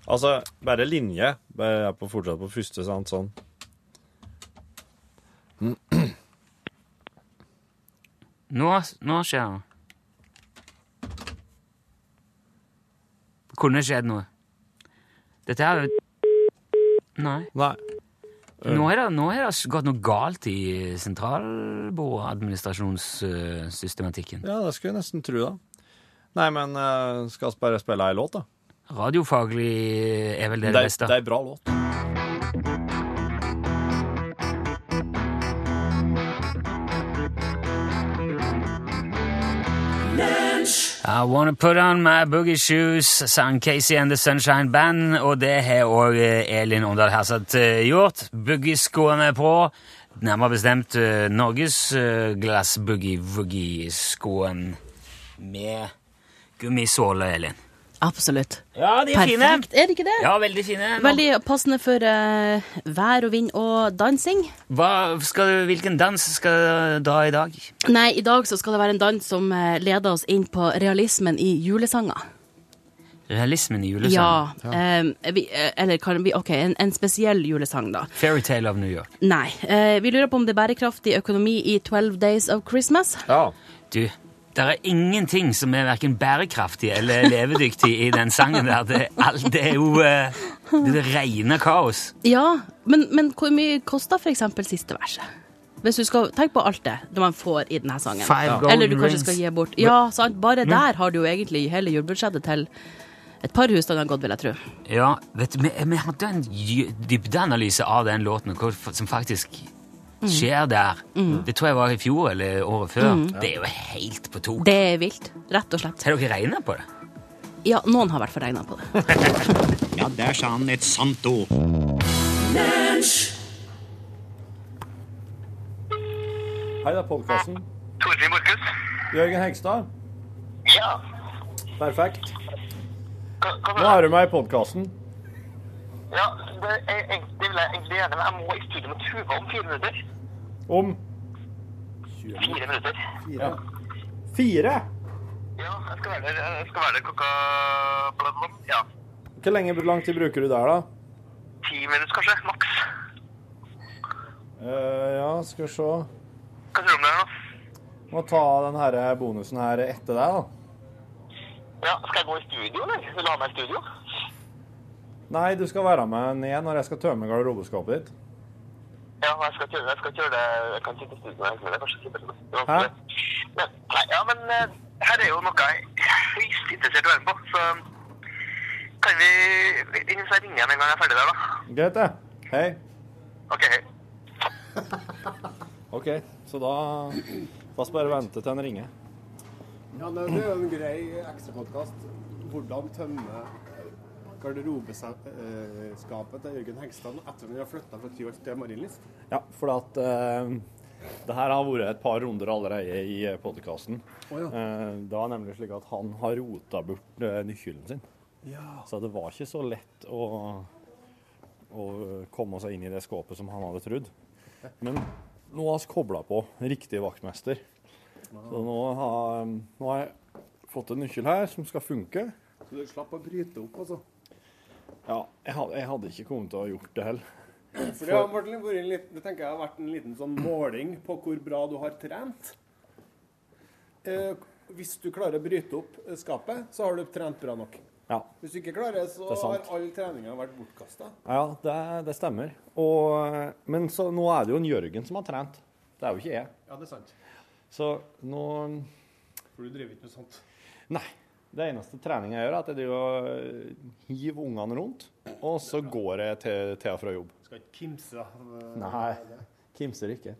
Speaker 4: Altså, bare linje. Bare jeg er på fortsatt på første, sant? Sånn.
Speaker 3: Mm. Nå, nå skjer det noe. Det kunne skjedd noe. Dette er jo Nei.
Speaker 4: Nei. Eh.
Speaker 3: Nå er, det, nå er det gått noe galt i eh, sentralbordadministrasjonssystematikken.
Speaker 4: Ja, det skulle jeg nesten tro, da. Nei, men eh, skal vi bare spille ei låt, da?
Speaker 3: Radiofaglig er vel det det
Speaker 4: er-
Speaker 3: beste.
Speaker 4: det er ei bra låt.
Speaker 3: I wanna put on my boogie shoes, sang Casey and the Sunshine Band, og det har òg Elin Åndal Herseth eh, gjort. Boogieskoene er på. Nærmere bestemt eh, Norges eh, glass boogie-woogie-skoen med gummisåle, Elin.
Speaker 11: Absolutt.
Speaker 3: Ja, de er
Speaker 11: Perfekt,
Speaker 3: fine.
Speaker 11: er det ikke det?
Speaker 3: Ja, veldig fine. Nå-
Speaker 11: Veldig passende for eh, vær og vind og dansing.
Speaker 3: Hva skal du, hvilken dans skal du dra i dag?
Speaker 11: Nei, i dag så skal det være en dans som eh, leder oss inn på realismen i julesanger.
Speaker 3: Realismen i
Speaker 11: Ja,
Speaker 3: julesangen.
Speaker 11: eh, vi, eh, eller kan vi, ok, en, en spesiell julesang da.
Speaker 3: Fairytale of New York.
Speaker 11: Nei, eh, vi lurer på om det er bærekraftig økonomi i 12 Days of Christmas.
Speaker 4: Ja.
Speaker 3: Du, det er ingenting som er verken bærekraftig eller levedyktig i den sangen der. Det, er alt, det er jo eh, det, er det rene kaos.
Speaker 11: Ja, men, men hvor mye koster for eksempel siste verset? Hvis du skal tenke på alt det når man får i denne sangen.
Speaker 3: Five golden
Speaker 11: Eller du kanskje
Speaker 3: rings.
Speaker 11: skal gi bort. Ja, sant, bare der har du jo egentlig hele julebudsjettet til et par husstander gått, vil jeg tro.
Speaker 3: Ja, vet du, vi, vi hadde en dju- dybdeanalyse av den låten og hva f- som faktisk skjer der. Det tror jeg var i fjor eller året før. Det er jo helt på tok.
Speaker 11: Det er vilt, rett og slett.
Speaker 3: Har dere regnet på det?
Speaker 11: Ja, noen har i hvert fall regnet på det.
Speaker 12: Ja, der sa han et sant ord.
Speaker 4: Hei, det er podkasten.
Speaker 13: Torfinn Borchhus.
Speaker 4: Jørgen Hegstad.
Speaker 13: Ja.
Speaker 4: Perfekt.
Speaker 13: hva- hva-
Speaker 4: Nå er du med i podkasten.
Speaker 13: Ja, det, er, egentlig- det vil jeg egentlig gjerne, men jeg må i studio med Tuva om fire minutter.
Speaker 4: Om
Speaker 13: Fire minutter.
Speaker 4: Fire. Fire?
Speaker 13: Ja, jeg skal være der, jeg skal være der klokka bla, bla, bla. ja,
Speaker 4: Hvor lenge hvor lang tid bruker du der, da?
Speaker 13: ti minutter kanskje, maks.
Speaker 4: Eh, ja, skal vi se.
Speaker 13: Hva tror du om det her nå?
Speaker 4: Må ta den her bonusen her etter deg, da.
Speaker 13: Ja, skal jeg gå i studio, eller? Vil du ha meg i studio?
Speaker 4: Nei, du skal være med ned når jeg skal tømme garderobeskapet ditt.
Speaker 13: Ja, jeg skal kjøre, jeg skal kjøre det. Jeg kan sitte i studio med deg, kanskje sitte med deg.
Speaker 4: Hæ?
Speaker 13: Men, nei, ja, men eh, her er jo noe jeg er høyst interessert i å være med på, så kan vi, vi vi- så jeg ringer igjen en gang jeg er ferdig der da.
Speaker 4: Greit, det. Hei.
Speaker 13: Ok, hei.
Speaker 4: OK, så da La oss bare vente til han ringer.
Speaker 14: Ja, men det er jo en grei ekstrapodkast. Hvordan tømme garderobeskapet til Jørgen Hegstad nå etter at han har flytta fra Tyholt til Marienlyst?
Speaker 4: Ja, for at eh, det her har vært et par runder allerede i podkasten.
Speaker 14: Å ja.
Speaker 4: det var nemlig slik at han har rota bort eh, nøkkelen sin.
Speaker 14: Ja.
Speaker 4: Så det var ikke så lett å, å komme seg inn i det skåpet som han hadde trodd. Men nå har vi kobla på riktig vaktmester. Så nå har, nå har jeg fått en nøkkel her som skal funke.
Speaker 14: Så du slapp å bryte opp, altså?
Speaker 4: Ja, jeg hadde, jeg hadde ikke kommet til å ha gjort det heller.
Speaker 14: For det har Martin, vært en liten, det tenker jeg har vært en liten sånn måling på hvor bra du har trent. Eh, hvis du klarer å bryte opp eh, skapet, så har du trent bra nok.
Speaker 4: Ja.
Speaker 14: Hvis du ikke klarer, så
Speaker 4: Det er sant.
Speaker 14: har all treninga vært bortkasta.
Speaker 4: Ja, det, det stemmer. Og, men så, nå er det jo en Jørgen som har trent. Det er jo ikke jeg.
Speaker 14: Ja, det er sant.
Speaker 4: Så nå
Speaker 14: For du driver ikke med sånt.
Speaker 4: Nei. Det eneste treninga jeg gjør, er at jeg driver og hiver ungene rundt, og så går jeg til Thea fra jobb.
Speaker 14: Du skal ikke kimse av eh,
Speaker 4: Nei.
Speaker 14: det.
Speaker 4: Kimser ikke.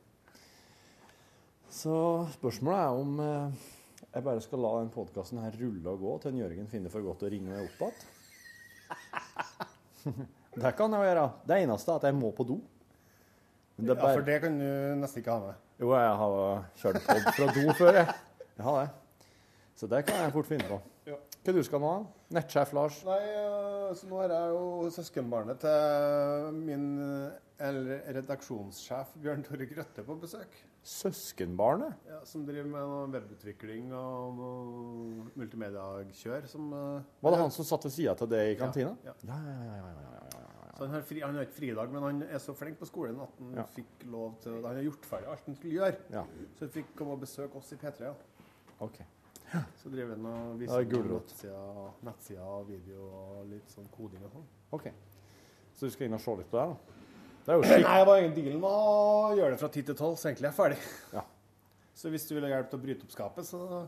Speaker 4: Så spørsmålet er om eh, jeg bare skal la den podkasten her rulle og gå til en Jørgen finner for godt å ringe meg opp igjen. Det kan jeg jo gjøre. Det eneste er at jeg må på do. Men det er
Speaker 14: Ja,
Speaker 4: bare-
Speaker 14: for det kan du nesten ikke ha med.
Speaker 4: Jo, jeg har kjørt pod fra do før, jeg. Jeg har det. Så det kan jeg fort finne på.
Speaker 14: Ja.
Speaker 4: Hva du skal nå? Nettsjef Lars?
Speaker 14: Nei, eh, så nå er jeg jo søskenbarnet til min eh, eller redaksjonssjef Bjørn Tore Grøtte på besøk.
Speaker 4: Søskenbarnet?
Speaker 14: Ja, som driver med noe webutvikling og noe multimediakjør. Som, eh,
Speaker 4: Var det han som satt ved sida til deg i
Speaker 14: Ja,
Speaker 4: kantina?
Speaker 14: ja.
Speaker 4: ja, ja, ja, ja, ja, ja, ja, ja.
Speaker 14: Så han har, fri, han har ikke fridag, men han er så flink på skolen at han
Speaker 4: Ja.
Speaker 14: fikk lov til Han har gjort ferdig alt han skulle gjøre.
Speaker 4: Ja.
Speaker 14: Så han fikk komme og besøke oss i P3. Ja.
Speaker 4: Ok.
Speaker 14: Så driver han og
Speaker 4: Da er
Speaker 14: viser
Speaker 4: det gulrot.
Speaker 14: nettsida, nettsida og video og litt sånn koding og sånn.
Speaker 4: ok. Så du skal inn og se litt på det, da? Det er jo
Speaker 14: Nei,
Speaker 4: slik.
Speaker 14: det var ingen dealen med å gjøre det fra ti til tolv, så egentlig er jeg ferdig.
Speaker 4: Ja.
Speaker 14: Så hvis du vil ha hjelp til å bryte opp skapet, så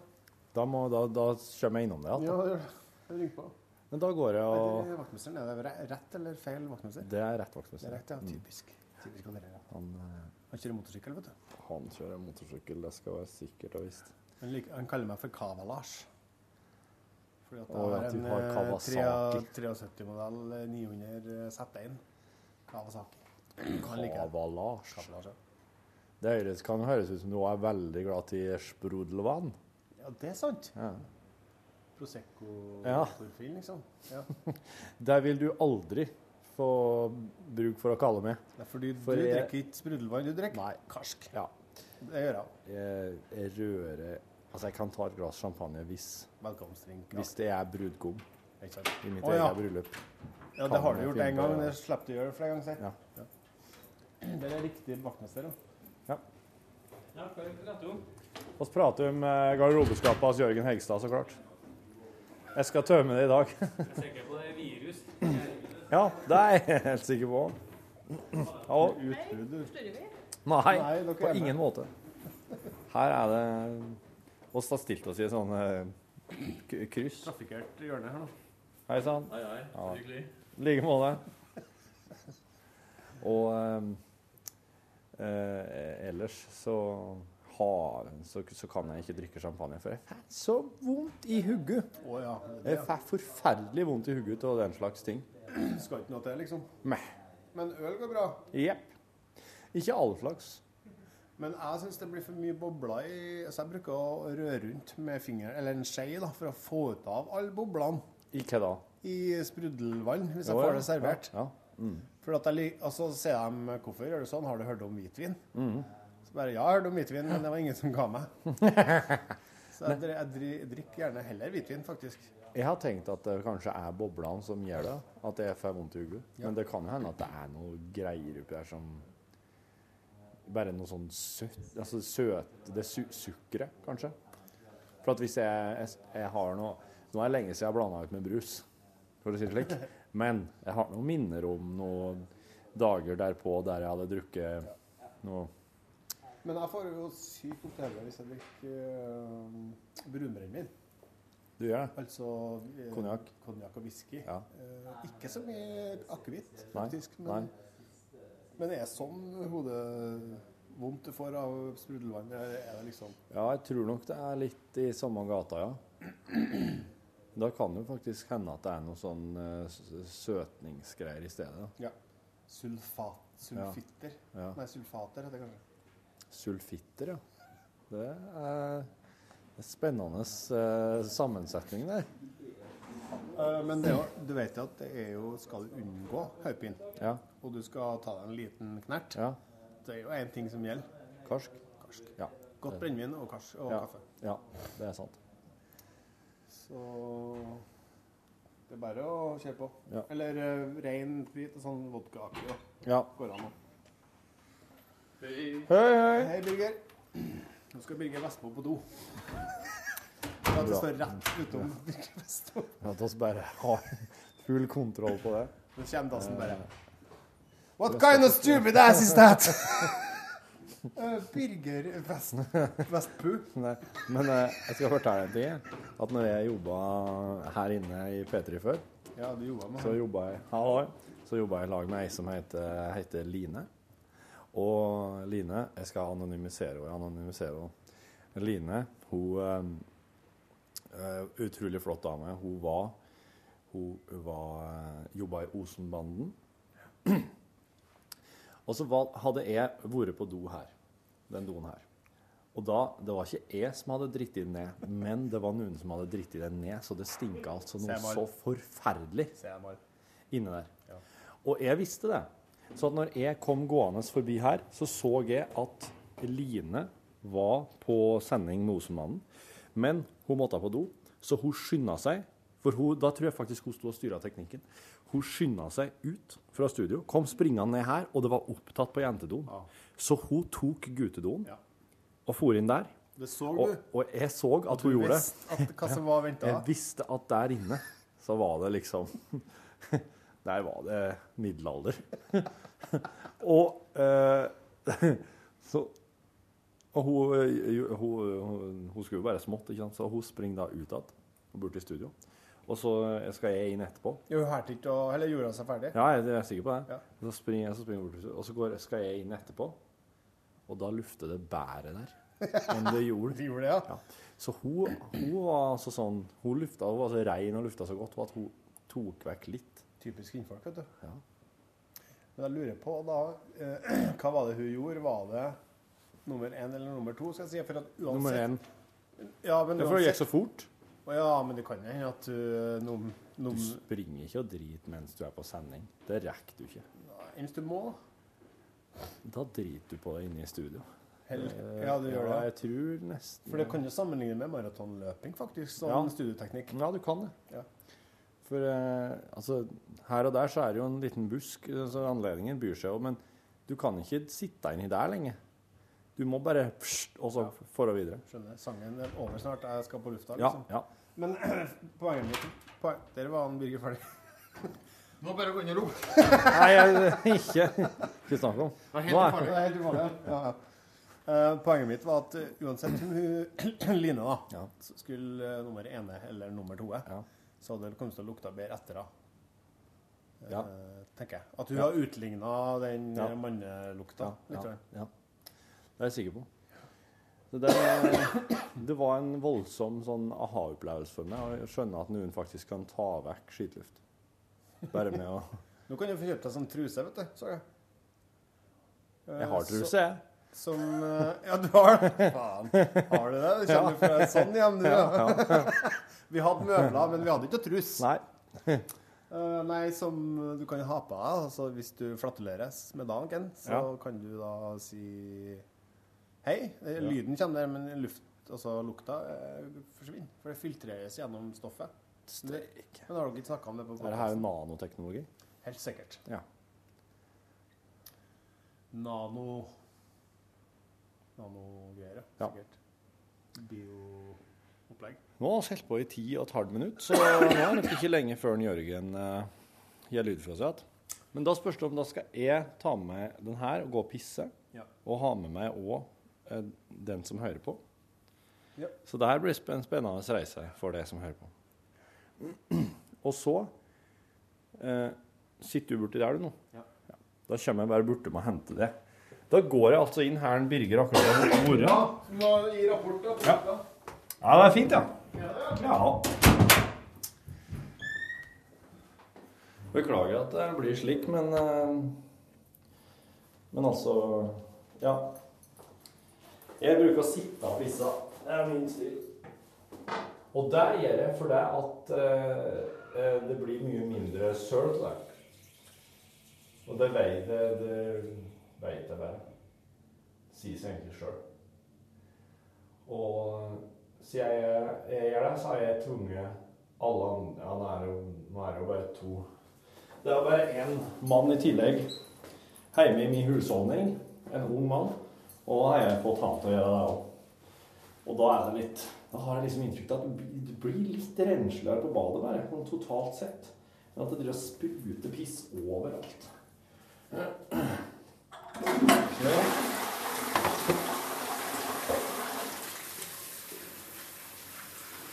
Speaker 4: Da, må, da, da kommer jeg innom det
Speaker 14: ja,
Speaker 4: igjen.
Speaker 14: gjør det. Ring på.
Speaker 4: Men da går jeg og
Speaker 14: Eller vaktmesteren, er det re- rett eller feil vaktmester?
Speaker 4: Det er rett
Speaker 14: Det er
Speaker 4: vaktmester.
Speaker 14: rett, ja.
Speaker 4: Mm.
Speaker 14: Typisk. Typisk han der, ja.
Speaker 4: Han, eh,
Speaker 14: Han kjører motorsykkel, vet du.
Speaker 4: han kjører motorsykkel, det skal være sikkert og visst.
Speaker 14: Han, liker, han kaller meg for Kava-Lars. Fordi at
Speaker 4: Å,
Speaker 14: jeg
Speaker 4: ja,
Speaker 14: har
Speaker 4: du
Speaker 14: en
Speaker 4: har
Speaker 14: eh,
Speaker 4: Kawasaki.
Speaker 14: 3- 73-modell eh, 900 Z1 Kawasaki. Han liker det.
Speaker 4: Kava-Lars.
Speaker 14: Kava-Lars, ja.
Speaker 4: Det høres, kan høres ut som du også er veldig glad i sprudelvann.
Speaker 14: Ja, det er sant.
Speaker 4: Ja. Ja.
Speaker 14: Prosecco-profil, liksom. Ja.
Speaker 4: Der vil du aldri få bruk for å kalle meg.
Speaker 14: Det er fordi
Speaker 4: For
Speaker 14: du
Speaker 4: jeg-
Speaker 14: drikker ikke sprudelvann, du drikker karsk.
Speaker 4: Ja.
Speaker 14: Det gjør jeg.
Speaker 4: Jeg, jeg rører Altså, jeg kan ta et glass champagne hvis,
Speaker 14: Velkomstdrink.
Speaker 4: hvis det er brudgom
Speaker 14: Ikke sant?
Speaker 4: i mitt
Speaker 14: Å, ja.
Speaker 4: eget bryllup.
Speaker 14: Ja, det
Speaker 4: Kan
Speaker 14: har du
Speaker 4: jeg
Speaker 14: gjort
Speaker 4: finne
Speaker 14: én
Speaker 4: på-
Speaker 14: gang. Det slipper du å gjøre flere ganger. sier.
Speaker 4: Ja.
Speaker 14: Det er riktig vaktmester. da.
Speaker 4: Vi prater om eh, garderobeskapet hans Jørgen Hegstad, så klart. Jeg skal tømme det i dag. ja, det er jeg helt sikker på. Ja,
Speaker 14: Utbrudd.
Speaker 4: Nei,
Speaker 14: Nei, dere
Speaker 4: på
Speaker 14: er med.
Speaker 4: ingen måte. Her er det oss har stilt oss i et sånn eh, k- kryss.
Speaker 14: Trafikkert hjørne her nå.
Speaker 4: Hei sann.
Speaker 14: Hei, hei.
Speaker 4: Ja.
Speaker 14: Hyggelig.
Speaker 4: I like måte. Og ehm, eh, ellers så, har, så, så kan jeg ikke drikke champagne, for jeg får så vondt i hugget.
Speaker 14: Å ja. Det,
Speaker 4: Jeg får forferdelig vondt i hugget av den slags ting.
Speaker 14: det skal ikke noe til, liksom.
Speaker 4: Meh.
Speaker 14: Men øl går bra.
Speaker 4: Jepp. Ikke all slags.
Speaker 14: Men jeg syns det blir for mye bobler i Så jeg bruker å røre rundt med fingeren, eller en skje, da, for å få ut av alle boblene
Speaker 4: I hva da?
Speaker 14: i sprudelvann, hvis jeg
Speaker 4: Jo, ja,
Speaker 14: får det servert.
Speaker 4: Ja. ja. Mm.
Speaker 14: For at jeg lik- Og så sier de 'Hvorfor gjør du sånn? Har du hørt om hvitvin?'
Speaker 4: Mm.
Speaker 14: Så bare 'Ja, jeg hørte om hvitvin, men det var ingen som ga meg'. Så jeg, dri, jeg, dri, drikker gjerne heller hvitvin, faktisk.
Speaker 4: Jeg har tenkt at det kanskje er boblene som gjør det, at jeg får vondt i hodet. Men det kan jo hende at det er noe greier oppi her som Bare noe sånn søtt Altså søt Det su sukkeret, kanskje. For at hvis jeg, jeg, jeg har noe Nå er det lenge siden jeg har blanda ut med brus, for å si det slik. Men jeg har noen minner om noen dager derpå der jeg hadde drukket noe
Speaker 14: Men jeg får jo sykt opp til hodet hvis jeg drikker øh, brunbrennevin.
Speaker 4: Du gjør det?
Speaker 14: Altså øh,
Speaker 4: Konjakk.
Speaker 14: konjakk og whisky.
Speaker 4: Ja.
Speaker 14: Eh, ikke så mye akevitt,
Speaker 4: Nei,
Speaker 14: faktisk.
Speaker 4: nei.
Speaker 14: Men, men er sånn hodevondt du får av sprudelvann? eller Er det liksom
Speaker 4: Ja, jeg tror nok det er litt i samme gata, ja. Da kan det jo faktisk hende at det er noe sånn eh, s- søtningsgreier i stedet. da.
Speaker 14: Ja. Sulfat, sulfitter.
Speaker 4: Ja.
Speaker 14: Nei, sulfater heter det kanskje.
Speaker 4: Sulfitter, ja. Det er en spennende eh, sammensetning der.
Speaker 14: Eh, Men det er jo, du vet jo at det er jo Skal du unngå hodepine,
Speaker 4: Ja.
Speaker 14: og du skal ta deg en liten knert,
Speaker 4: Ja.
Speaker 14: det er jo én ting som gjelder.
Speaker 4: Karsk. Ja.
Speaker 14: Godt
Speaker 4: Det-
Speaker 14: brennevin og, kars, og
Speaker 4: ja.
Speaker 14: kaffe.
Speaker 4: Ja, det er sant.
Speaker 14: Så det er bare å kjøre på.
Speaker 4: Ja.
Speaker 14: Eller eh, rein sprit og sånn vodkaaktig. da.
Speaker 4: Ja.
Speaker 14: Går an, da.
Speaker 4: Hei, hei.
Speaker 14: Hei, Birger. Nå skal Birger Vestmo på do. For at det
Speaker 4: Bra.
Speaker 14: står rett utom Birger Vestmo.
Speaker 4: At oss bare har full kontroll på det.
Speaker 14: Nå kommer dassen bare.
Speaker 4: Eh,
Speaker 14: What kind of stupid ass is that? Eh, Birger Vest... Vestpu.
Speaker 4: Nei, men eh, jeg skal fortelle en ting. jeg. At når jeg jobba her inne i P3 før,
Speaker 14: Ja, du jobba med
Speaker 4: så
Speaker 14: han.
Speaker 4: jobba jeg Halloi. Så jobba jeg i lag med ei som heter, heter Line. Og Line Jeg skal anonymisere henne. jeg anonymiserer henne. Line, hun eh, eh, Utrolig flott dame. Hun var Hun var jobba i Osenbanden. Og så var, hadde jeg vært på do her. Den doen her. Og da, Det var ikke jeg som hadde dritt i den ned, men det var noen som hadde dritt i den ned, så det stinka altså noe
Speaker 14: Ser jeg
Speaker 4: så
Speaker 14: bare.
Speaker 4: forferdelig
Speaker 14: Ser jeg bare.
Speaker 4: inne der.
Speaker 14: Ja.
Speaker 4: Og jeg visste det. Så at når jeg kom gående forbi her, så så jeg at Line var på sending med Osenmannen. Men hun måtte på do, så hun skynda seg. For hun, da tror jeg faktisk hun sto og styra teknikken. Hun skynda seg ut fra studio, kom springende ned her, og det var opptatt på jentedoen. Så hun tok guttedoen og for inn der.
Speaker 14: Det så
Speaker 4: Og,
Speaker 14: du.
Speaker 4: og jeg så at hun
Speaker 14: Du
Speaker 4: gjorde
Speaker 14: visste at- hva som var ventet.
Speaker 4: Jeg visste at der inne så var det liksom Der var det middelalder. og eh, så og hun, eh, jo- hun, hun, hun skulle jo bare smått, ikke sant? så hun springer da ut igjen og bort til studio. Og så eh, skal jeg inn etterpå.
Speaker 14: Jo, her til ikke å Eller gjorde hun seg ferdig?
Speaker 4: Ja, jeg er sikker på det. Så springer jeg, så springer jeg bort, til huset, og så går, skal jeg inn etterpå. Og da lufter det bæret der enn det gjorde. ja. Så hun, hun var altså sånn Hun lufta, hun var så rein og lufta så godt og at hun tok vekk litt.
Speaker 14: Typisk kvinnfolk, vet du.
Speaker 4: Ja.
Speaker 14: Men jeg lurer på da eh, Hva var det hun gjorde? Var det nummer én eller nummer to? Skal jeg si? For at uansett
Speaker 4: Nummer én.
Speaker 14: Ja, men
Speaker 4: Ja, for det gikk så fort.
Speaker 14: Å ja, men det kan jo hende at du num,
Speaker 4: Du
Speaker 14: num,
Speaker 4: springer ikke og driter mens du er på sending. Det rekker du ikke.
Speaker 14: Hvis du må.
Speaker 4: Da driter du på det inne i studio.
Speaker 14: Hell-
Speaker 4: Eh,
Speaker 14: ja, du gjør
Speaker 4: ja,
Speaker 14: det.
Speaker 4: Jeg tror nesten
Speaker 14: For det kan jo sammenligne med maratonløping, faktisk, som
Speaker 4: Ja.
Speaker 14: studieteknikk.
Speaker 4: Ja, du kan det.
Speaker 14: Ja.
Speaker 4: For eh, altså, her og der så er det jo en liten busk, eh, så anledningen byr seg jo, men du kan ikke sitte inni der lenge. Du må bare pst, og så for og videre.
Speaker 14: Skjønner. Sangen er over snart. Jeg skal på lufta,
Speaker 4: Ja,
Speaker 14: liksom.
Speaker 4: ja.
Speaker 14: Men poenget mitt poen, Der var han Birger ferdig. Må bare gå inn og rope.
Speaker 4: Nei, jeg, ikke, ikke snakk om.
Speaker 14: Det var helt
Speaker 4: Nå er-
Speaker 14: ufarlig. Det var helt ufarlig, ja. ja. Eh, poenget mitt var at eh, uansett om hun Line da, s- skulle eh, nummer ene eller nummer to, så hadde det kommet til å lukte bedre etter henne.
Speaker 4: Ja.
Speaker 14: tenker jeg. At hun
Speaker 4: Eh, Ja.
Speaker 14: har utligna den
Speaker 4: Ja.
Speaker 14: eh, mannelukta. litt
Speaker 4: ja,
Speaker 14: grann.
Speaker 4: ja. Det er jeg sikker på. Så det, det var en voldsom sånn aha-opplevelse for meg å skjønne at noen faktisk kan ta vekk skitluft. Bare med å
Speaker 14: Nå kan du få kjøpt deg sånn truse, vet du. Så jeg. Eh,
Speaker 4: Jeg har
Speaker 14: så-
Speaker 4: truse, jeg.
Speaker 14: Som eh, Ja, du har det? Faen. Har du det? Du kommer
Speaker 4: Ja.
Speaker 14: fra et sånn hjem, du.
Speaker 4: Ja,
Speaker 14: Ja.
Speaker 4: ja.
Speaker 14: vi hadde møbler, men vi hadde ikke trus. Eh,
Speaker 4: Nei.
Speaker 14: nei, som du kan ha på deg. Altså, hvis du flatuleres med dagen, så
Speaker 4: Ja.
Speaker 14: kan du da si Hei. Eh, Lyden kommer der, men luft, altså lukta, eh, forsvinner. For det filtreres gjennom stoffet.
Speaker 4: Steik.
Speaker 14: Men har dere ikke snakka om det på
Speaker 4: Er det her nanoteknologi?
Speaker 14: Helt sikkert.
Speaker 4: Ja.
Speaker 14: Nano Nanogreier,
Speaker 4: Ja.
Speaker 14: ja. sikkert. Bioopplegg.
Speaker 4: Nå har vi holdt på i ti og et halvt minutt, så nå er det nok ikke lenge før den Jørgen eh, gir lyd fra seg igjen. Men da spørs det om da skal jeg ta med meg den her og gå og pisse,
Speaker 14: Ja.
Speaker 4: og ha med meg òg eh, den som hører på.
Speaker 14: Ja.
Speaker 4: Så det her blir sp- en spennende reise for deg som hører på. Og så eh, sitter du borti der, du nå.
Speaker 14: Ja.
Speaker 4: Da kommer jeg bare borti og henter det. Da går jeg altså inn her den Birger akkurat har vært.
Speaker 14: Ja, du må gi rapport, da.
Speaker 4: Ja, det er fint, ja. Ja. Beklager at det blir slik, men eh, Men altså Ja. Jeg bruker å sitte og pisse. Det er min stil. Og det gjør jeg fordi at eh, eh, det blir mye mindre søl til deg. Og det veit det, det vet jeg bare. Sier seg egentlig sjøl. Og siden jeg, jeg gjør det, så har jeg tvunget alle andre ja, nå er det jo, Nå er det jo bare to. Det er bare én mann i tillegg hjemme i min husholdning. En ung mann. Og da har jeg fått han til å gjøre det òg. Og da er det litt Da har jeg liksom inntrykk av at du blir- du blir litt rensligere på badet bare, sånn totalt sett. Men at det driver og spruter piss overalt.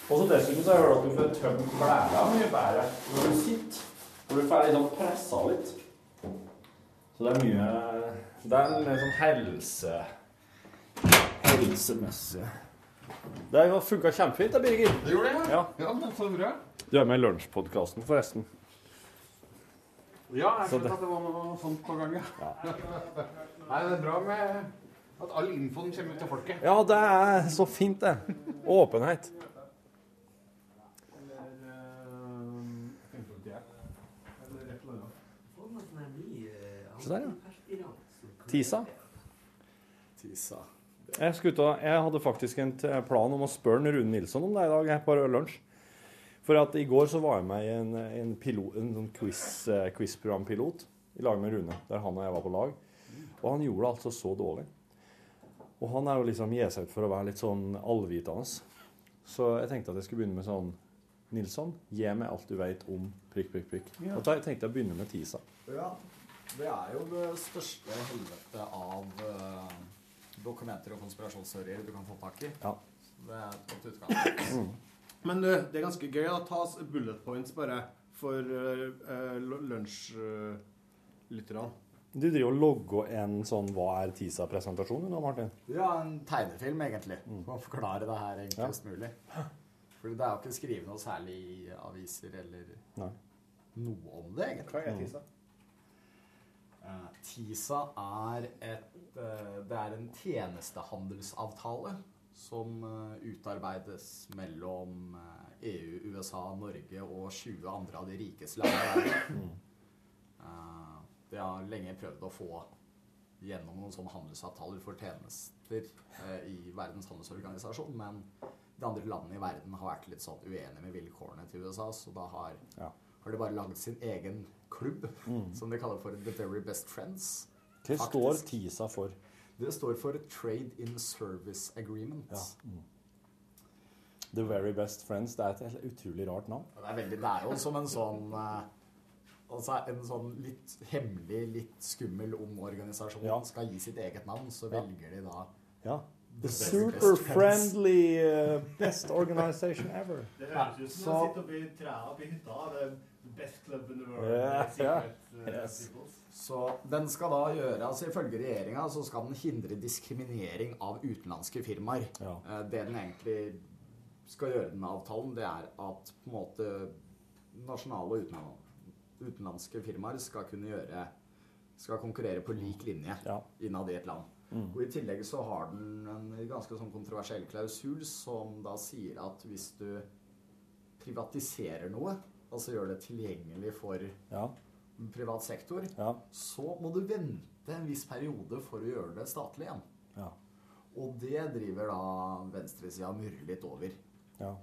Speaker 4: Og så dessuten så har jeg hørt at du får tømt blæra mye bedre når du sitter. For du får liksom pressa litt. Så det er mye Det er en mer sånn helse... Helsemessig. Det har funka kjempefint, da, Birger.
Speaker 14: Det gjorde det,
Speaker 4: ja.
Speaker 14: ja men så bra.
Speaker 4: Du er med i lunsjpodkasten, forresten.
Speaker 14: Ja, jeg
Speaker 4: Så
Speaker 14: skjønte
Speaker 4: det-
Speaker 14: at det var noe sånt på gang, ja. Nei, det er bra med at all infoen kommer ut til folket.
Speaker 4: Ja, det er så fint, det. Åpenhet.
Speaker 14: Ehm,
Speaker 4: Se der, ja. Tisa.
Speaker 15: Tisa.
Speaker 4: Jeg, skulle ut og- jeg hadde faktisk en t- plan om å spørre en Rune Nilsson om det i dag jeg, på Rød lunsj. For at i går så var jeg med i en, en, pilot, en sånn quiz, eh, quiz-programpilot i lag med Rune, der han og jeg var på lag. Og han gjorde det altså så dårlig. Og han er jo liksom gir seg ut for å være litt sånn allvitende. Så jeg tenkte at jeg skulle begynne med sånn Nilsson, gi meg alt du vet om prikk, prikk, prikk.
Speaker 15: Ja.
Speaker 4: Og da tenkte jeg å begynne med TISA.
Speaker 16: Ja, det er jo det største helvete av eh, dokumenter og konspirasjonsserier du kan få tak i.
Speaker 4: Ja.
Speaker 16: Så Det er et godt utgangspunkt.
Speaker 15: Men du, det er ganske gøy å ta s- bullet points bare for uh, eh, lunsjlytterne.
Speaker 4: Du driver og logger en sånn Hva er TISA-presentasjon nå, Martin?
Speaker 16: Ja, en tegnefilm, egentlig. For å forklare det her
Speaker 4: Mm. Ja.
Speaker 16: enklest mulig. For det er jo ikke skrevet noe særlig i aviser eller
Speaker 4: Nei.
Speaker 16: noe om det, egentlig.
Speaker 4: Hva er TISA?
Speaker 16: Eh, TISA er et eh, Det er en tjenestehandelsavtale som eh, utarbeides mellom eh, EU, USA, Norge og 20 andre av de rikeste landene.
Speaker 4: Mm.
Speaker 16: Uh, de har lenge prøvd å få gjennom noen sånne handelsavtaler for tjenester eh, i Verdens handelsorganisasjon, men de andre landene i verden har vært litt sånn uenige med vilkårene til USA, så da har, har de bare lagd sin egen klubb,
Speaker 4: Mm.
Speaker 16: som de kaller for The Very Best Friends.
Speaker 4: Hva står
Speaker 16: Faktisk.
Speaker 4: TISA for?
Speaker 16: Det står for Trade in Service Agreement.
Speaker 4: Ja. Mm. The Very Best Friends. Det er et helt utrolig rart navn.
Speaker 16: Og Det er veldig nære oss som en sånn eh, Altså en sånn litt hemmelig, litt skummel ung organisasjon skal gi sitt eget navn, så velger de da
Speaker 4: Ja. The
Speaker 16: Best
Speaker 4: super
Speaker 16: Friends.
Speaker 4: friendly uh, best organization ever.
Speaker 17: Det høres ut som
Speaker 4: Så-
Speaker 17: å sitte oppi trærne oppi hytta. Det er the best club in the world. Det
Speaker 16: Ja,
Speaker 17: er sikkert,
Speaker 16: ja.
Speaker 17: eh,
Speaker 16: Yes.
Speaker 17: peoples.
Speaker 16: Så den skal da gjøre, altså ifølge regjeringa, så skal den hindre diskriminering av utenlandske firmaer. Eh, Det den egentlig skal gjøre den avtalen, det er at på en måte nasjonale og utenland- utenlandske firmaer skal kunne gjøre skal konkurrere på lik linje innad i et land.
Speaker 4: Mm.
Speaker 16: Og I tillegg så har den en ganske sånn kontroversiell klausul som da sier at hvis du privatiserer noe, altså gjør det tilgjengelig for privat sektor, så må du vente en viss periode for å gjøre det statlig igjen.
Speaker 4: Ja.
Speaker 16: Og det driver da venstresida og murrer litt over.
Speaker 4: Ja.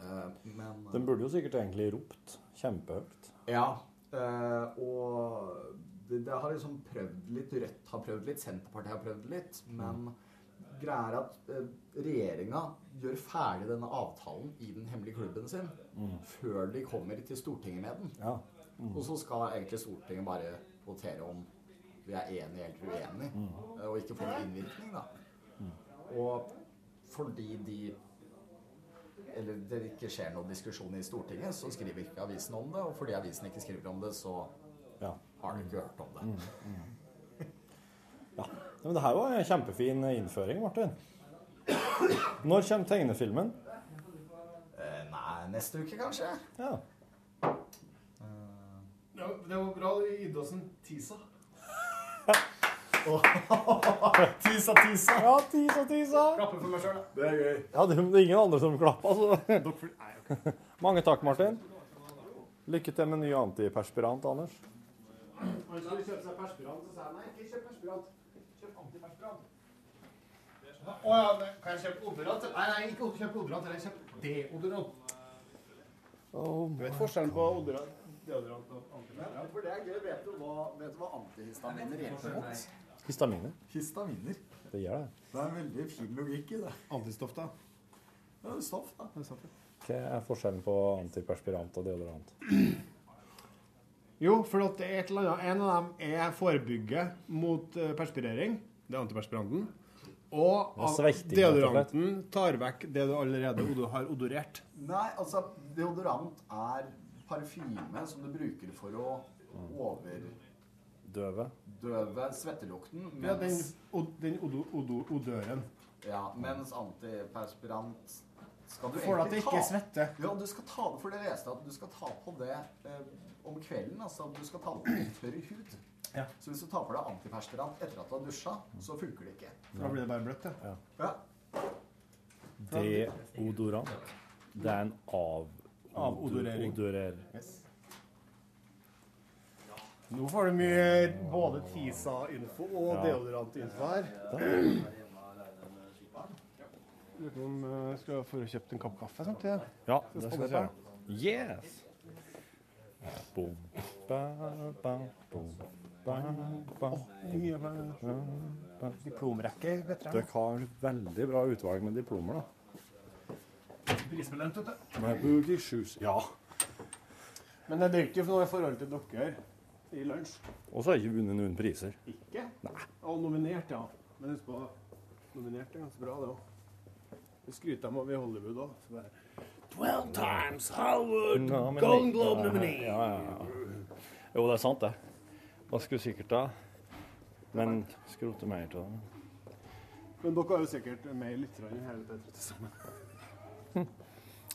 Speaker 16: Eh, Men
Speaker 4: Den burde jo sikkert egentlig ropt kjempehøyt.
Speaker 16: Ja. eh, og det, det har liksom prøvd litt. Rødt har prøvd litt, Senterpartiet har prøvd litt. Men
Speaker 4: Mm.
Speaker 16: greia er at uh, regjeringa gjør ferdig denne avtalen i den hemmelige klubben sin
Speaker 4: Mm.
Speaker 16: før de kommer til Stortinget med den.
Speaker 4: Ja. Mm.
Speaker 16: Og så skal egentlig Stortinget bare votere om vi er enige eller uenige,
Speaker 4: Mm.
Speaker 16: eh, og ikke få noen innvirkning, da. Og fordi de eller det ikke skjer noen diskusjon i Stortinget, så skriver ikke avisen om det. Og fordi avisen ikke skriver om det, så
Speaker 4: Ja.
Speaker 16: har du ikke hørt om det.
Speaker 4: Mm. Mm. ja. Men det her var en kjempefin innføring, Martin. Når kommer tegnefilmen?
Speaker 16: Eh, nei, neste uke kanskje?
Speaker 4: Ja.
Speaker 15: Eh,
Speaker 14: Ja, det var bra du gitt oss en tisa.
Speaker 4: Tisa, tisa. Ja, tisa, tisa.
Speaker 14: Klapper for meg sjøl, da.
Speaker 4: Det er gøy. Ja, det, det er ingen andre som klapper, altså. Mange takk, Martin. Lykke til med ny antiperspirant, Anders.
Speaker 14: Han skulle kjøpe seg perspirant, så sa jeg nei, ikke kjøp perspirant. Kjøp antiperspirant. Å ja, men kan jeg kjøpe odorant? Nei, nei, ikke kjøp odorant. Eller kjøp deodorant.
Speaker 4: Du
Speaker 14: vet forskjellen på odorant, deodorant og antiperspirant?
Speaker 16: For det er gøy. Vet du hva, vet du hva antihistaminer egentlig mot?
Speaker 4: Histaminer.
Speaker 16: Histaminer.
Speaker 4: Det gjør det.
Speaker 16: Det er en veldig fin logikk i det. Antistoff, da? Ja, stoff, da. Det er stoff, ja.
Speaker 4: Hva er forskjellen på antiperspirant og deodorant?
Speaker 14: Jo, for at det er et eller annet. En av dem er forebygge mot eh, perspirering. Det er antiperspiranten. Og
Speaker 4: Det er svetting, rett og slett. Mm.
Speaker 14: deodoranten tar vekk det du allerede odo- har odorert.
Speaker 16: Nei, altså, deodorant er parfyme som du bruker for å overdøve
Speaker 4: Døve.
Speaker 16: svettelukten.
Speaker 14: Ja, den,
Speaker 16: Mens,
Speaker 14: od- den odo, odo, odøren.
Speaker 16: ja, mens antiperspirant skal du
Speaker 14: For at
Speaker 16: egentlig
Speaker 14: det ikke
Speaker 16: ta-
Speaker 14: svetter.
Speaker 16: Ja, du skal ta det, for det leste jeg at du skal ta på det eh, om kvelden. Altså, du skal ta det på tørr hud.
Speaker 14: Ja.
Speaker 16: Så hvis du tar på deg antiperspirant etter at du har dusja, så funker det ikke.
Speaker 14: For da blir det bare bløtt,
Speaker 4: ja.
Speaker 16: Ja.
Speaker 4: Deodorant. Det er en av...
Speaker 14: Avodorering.
Speaker 4: Odorer.
Speaker 14: Nå får du mye både TISA-info og
Speaker 4: Ja.
Speaker 14: deodorant-info her.
Speaker 4: Da.
Speaker 14: Lurer på om jeg eh, skal få kjøpt en kopp kaffe samtidig.
Speaker 4: Ja, det skal jeg gjøre. Yes! Bom, ba, ba, bom, ba, ba.
Speaker 14: Diplomrekke, vet
Speaker 4: Dere har veldig bra utvalg med diplomer, da.
Speaker 14: Prisbelønt, vet du.
Speaker 4: My booty shoes. Ja.
Speaker 14: Men det er ikke noe i forhold til dere i lunsj.
Speaker 4: Og så har jeg ikke vunnet noen priser.
Speaker 14: Ikke? Nei. Og nominert, ja. Men husk på, nominert er ganske bra, det òg. Vi skryter dem av i Hollywood òg. Twelve times Hollywood
Speaker 4: Nominee.
Speaker 14: Golden Globe nominee.
Speaker 4: Ja, ja, ja. Jo, det er sant, det. Hva skulle sikkert da? Men skrote mer til det.
Speaker 14: Men dere har jo sikkert mer lyttere enn hele P3 til sammen.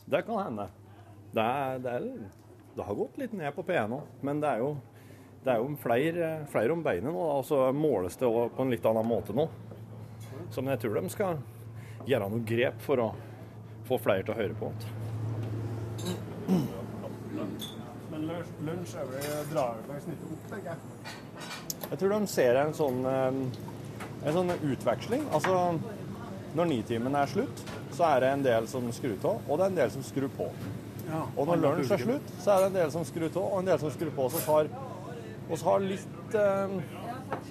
Speaker 4: Det kan hende. Det, er, det, er, det har gått litt ned på P1 nå, men det er jo, det er jo flere, flere om beinet nå. da, Og så måles det også på en litt annen måte nå. Så men jeg tror de skal gjøre noen grep for å få flere til å høre på.
Speaker 14: Men lunsj, lunsj er vel drar vel snittet opp, tenker jeg.
Speaker 4: Jeg tror de ser en sånn, eh, en sånn utveksling. Altså, når nitimen er slutt, så er det en del som skrur av, og det er en del som skrur på.
Speaker 14: Ja.
Speaker 4: Og når lunsj er slutt, så er det en del som skrur av, og en del som skrur på. Så har oss har litt eh,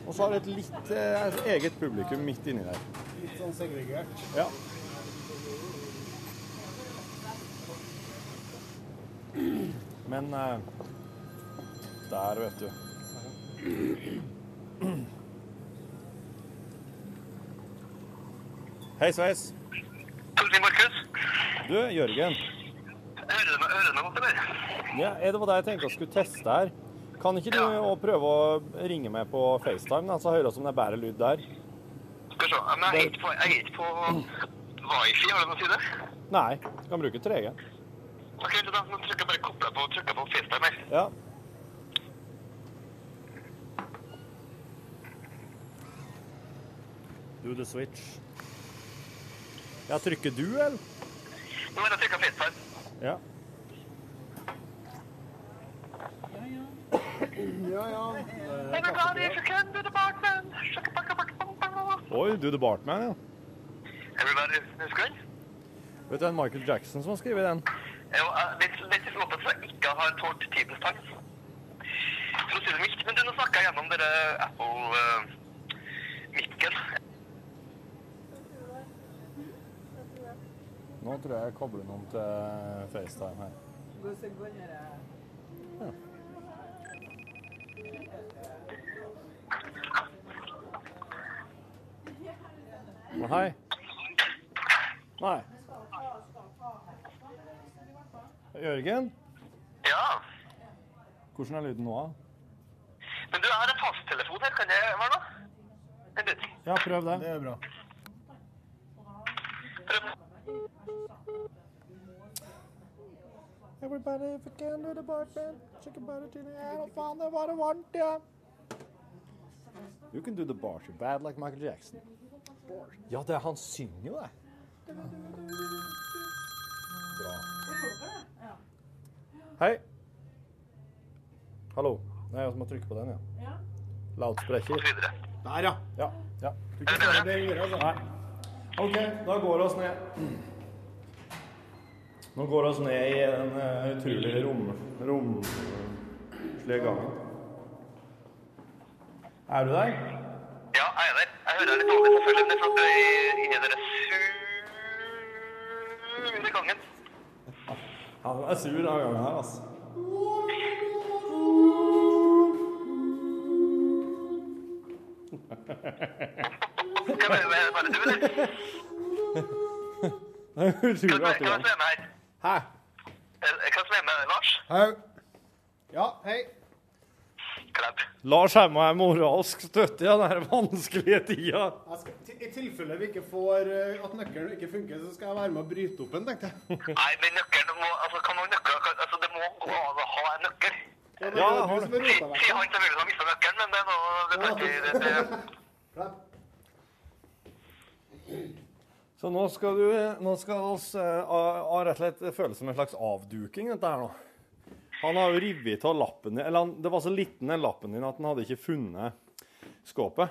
Speaker 4: oss har et litt eh, eget publikum midt inni der.
Speaker 14: Litt sånn segregert.
Speaker 4: Ja. Men eh, der, vet du. Hei, sveis. Du, Jørgen.
Speaker 13: Hører du meg, hører du meg godt, eller?
Speaker 4: Ja, er det var det jeg tenkte jeg skulle teste her. Kan ikke du å prøve å ringe med på FaceTime, da, så hører vi om det er bedre lyd der?
Speaker 13: Skal vi se. Men jeg er ikke på, jeg er ikke på wifi, har du noe å si det?
Speaker 4: Nei, du kan bruke 3G.
Speaker 13: Ok, vent litt da. Nå trykker jeg bare koble på, trykker jeg på FaceTime her.
Speaker 4: Ja. Do the switch. Ja, trykker du, eller?
Speaker 13: Nå har jeg trykket FaceTime.
Speaker 4: Ja.
Speaker 14: Ja, ja.
Speaker 13: Everybody, if you can do the Bartman. Shaka baka baka bum bum.
Speaker 4: Oi, do the Bartman, ja.
Speaker 13: Everybody, husker du?
Speaker 4: Vet du, det er Michael Jackson som har skrevet den.
Speaker 13: Jo, eh, litt, litt som opptatt for jeg ikke har tålt tidens tann. For å si det mildt. Men du, nå snakket jeg gjennom dere eh, Apple-mikken.
Speaker 4: Nå tror jeg jeg kobler noen til FaceTime her. Men hei. Nei. Jørgen?
Speaker 13: Ja.
Speaker 4: Hvordan er lyden nå? da?
Speaker 13: Men du, jeg har en fasttelefon her. Kan det være noe? Vent litt.
Speaker 4: Ja, prøv det. Det er bra.
Speaker 18: Everybody, if you can do the boy band, shake your body till the I don't find out what I want, yeah.
Speaker 4: You can do the bar so bad like Michael Jackson. Ja, det er, han synger jo, det. Bra. Hei. Hallo. Det er jeg som må trykke på den, ja.
Speaker 18: Ja.
Speaker 4: Loudsprecher. Der, ja. Ja. ja.
Speaker 14: altså.
Speaker 4: Nei. OK, da går vi oss ned. Nå går vi oss ned i den eh, utrolig rom... romslige gangen. Er du der?
Speaker 13: Ja, jeg er der. Jeg hører litt dårlig selvfølgelig, men det er for at det er inni dere sur i gangen.
Speaker 4: Han er sur denne gangen her, altså. Det er utrolig
Speaker 13: Hva
Speaker 4: artig.
Speaker 13: er det som er med her?
Speaker 4: Hæ?
Speaker 13: Eh, Hva er det som er med Lars?
Speaker 4: Hei.
Speaker 14: Ja, hei.
Speaker 4: Lars Hemme er moralsk støtte i den her vanskelige tida.
Speaker 14: Jeg skal, til- I tilfelle vi ikke får eh, at nøkkelen ikke funker, så skal jeg være med å bryte opp den, tenkte jeg.
Speaker 13: Nei, men nøkkelen må Altså, kan man nøkle kan- Altså, det må gå an å ha en nøkkel.
Speaker 14: Ja, men det er jo Ja, du har som det. har rotet vekk
Speaker 13: Sier han selvfølgelig har mista nøkkelen, men det er noe det, er ikke- det, det,
Speaker 4: Så nå skal du Nå skal oss eh, ha- ha rett og slett føles som en slags avduking, dette her nå. Han har jo revet av lappen din Eller han, det var så liten den lappen din at han hadde ikke funnet skåpet.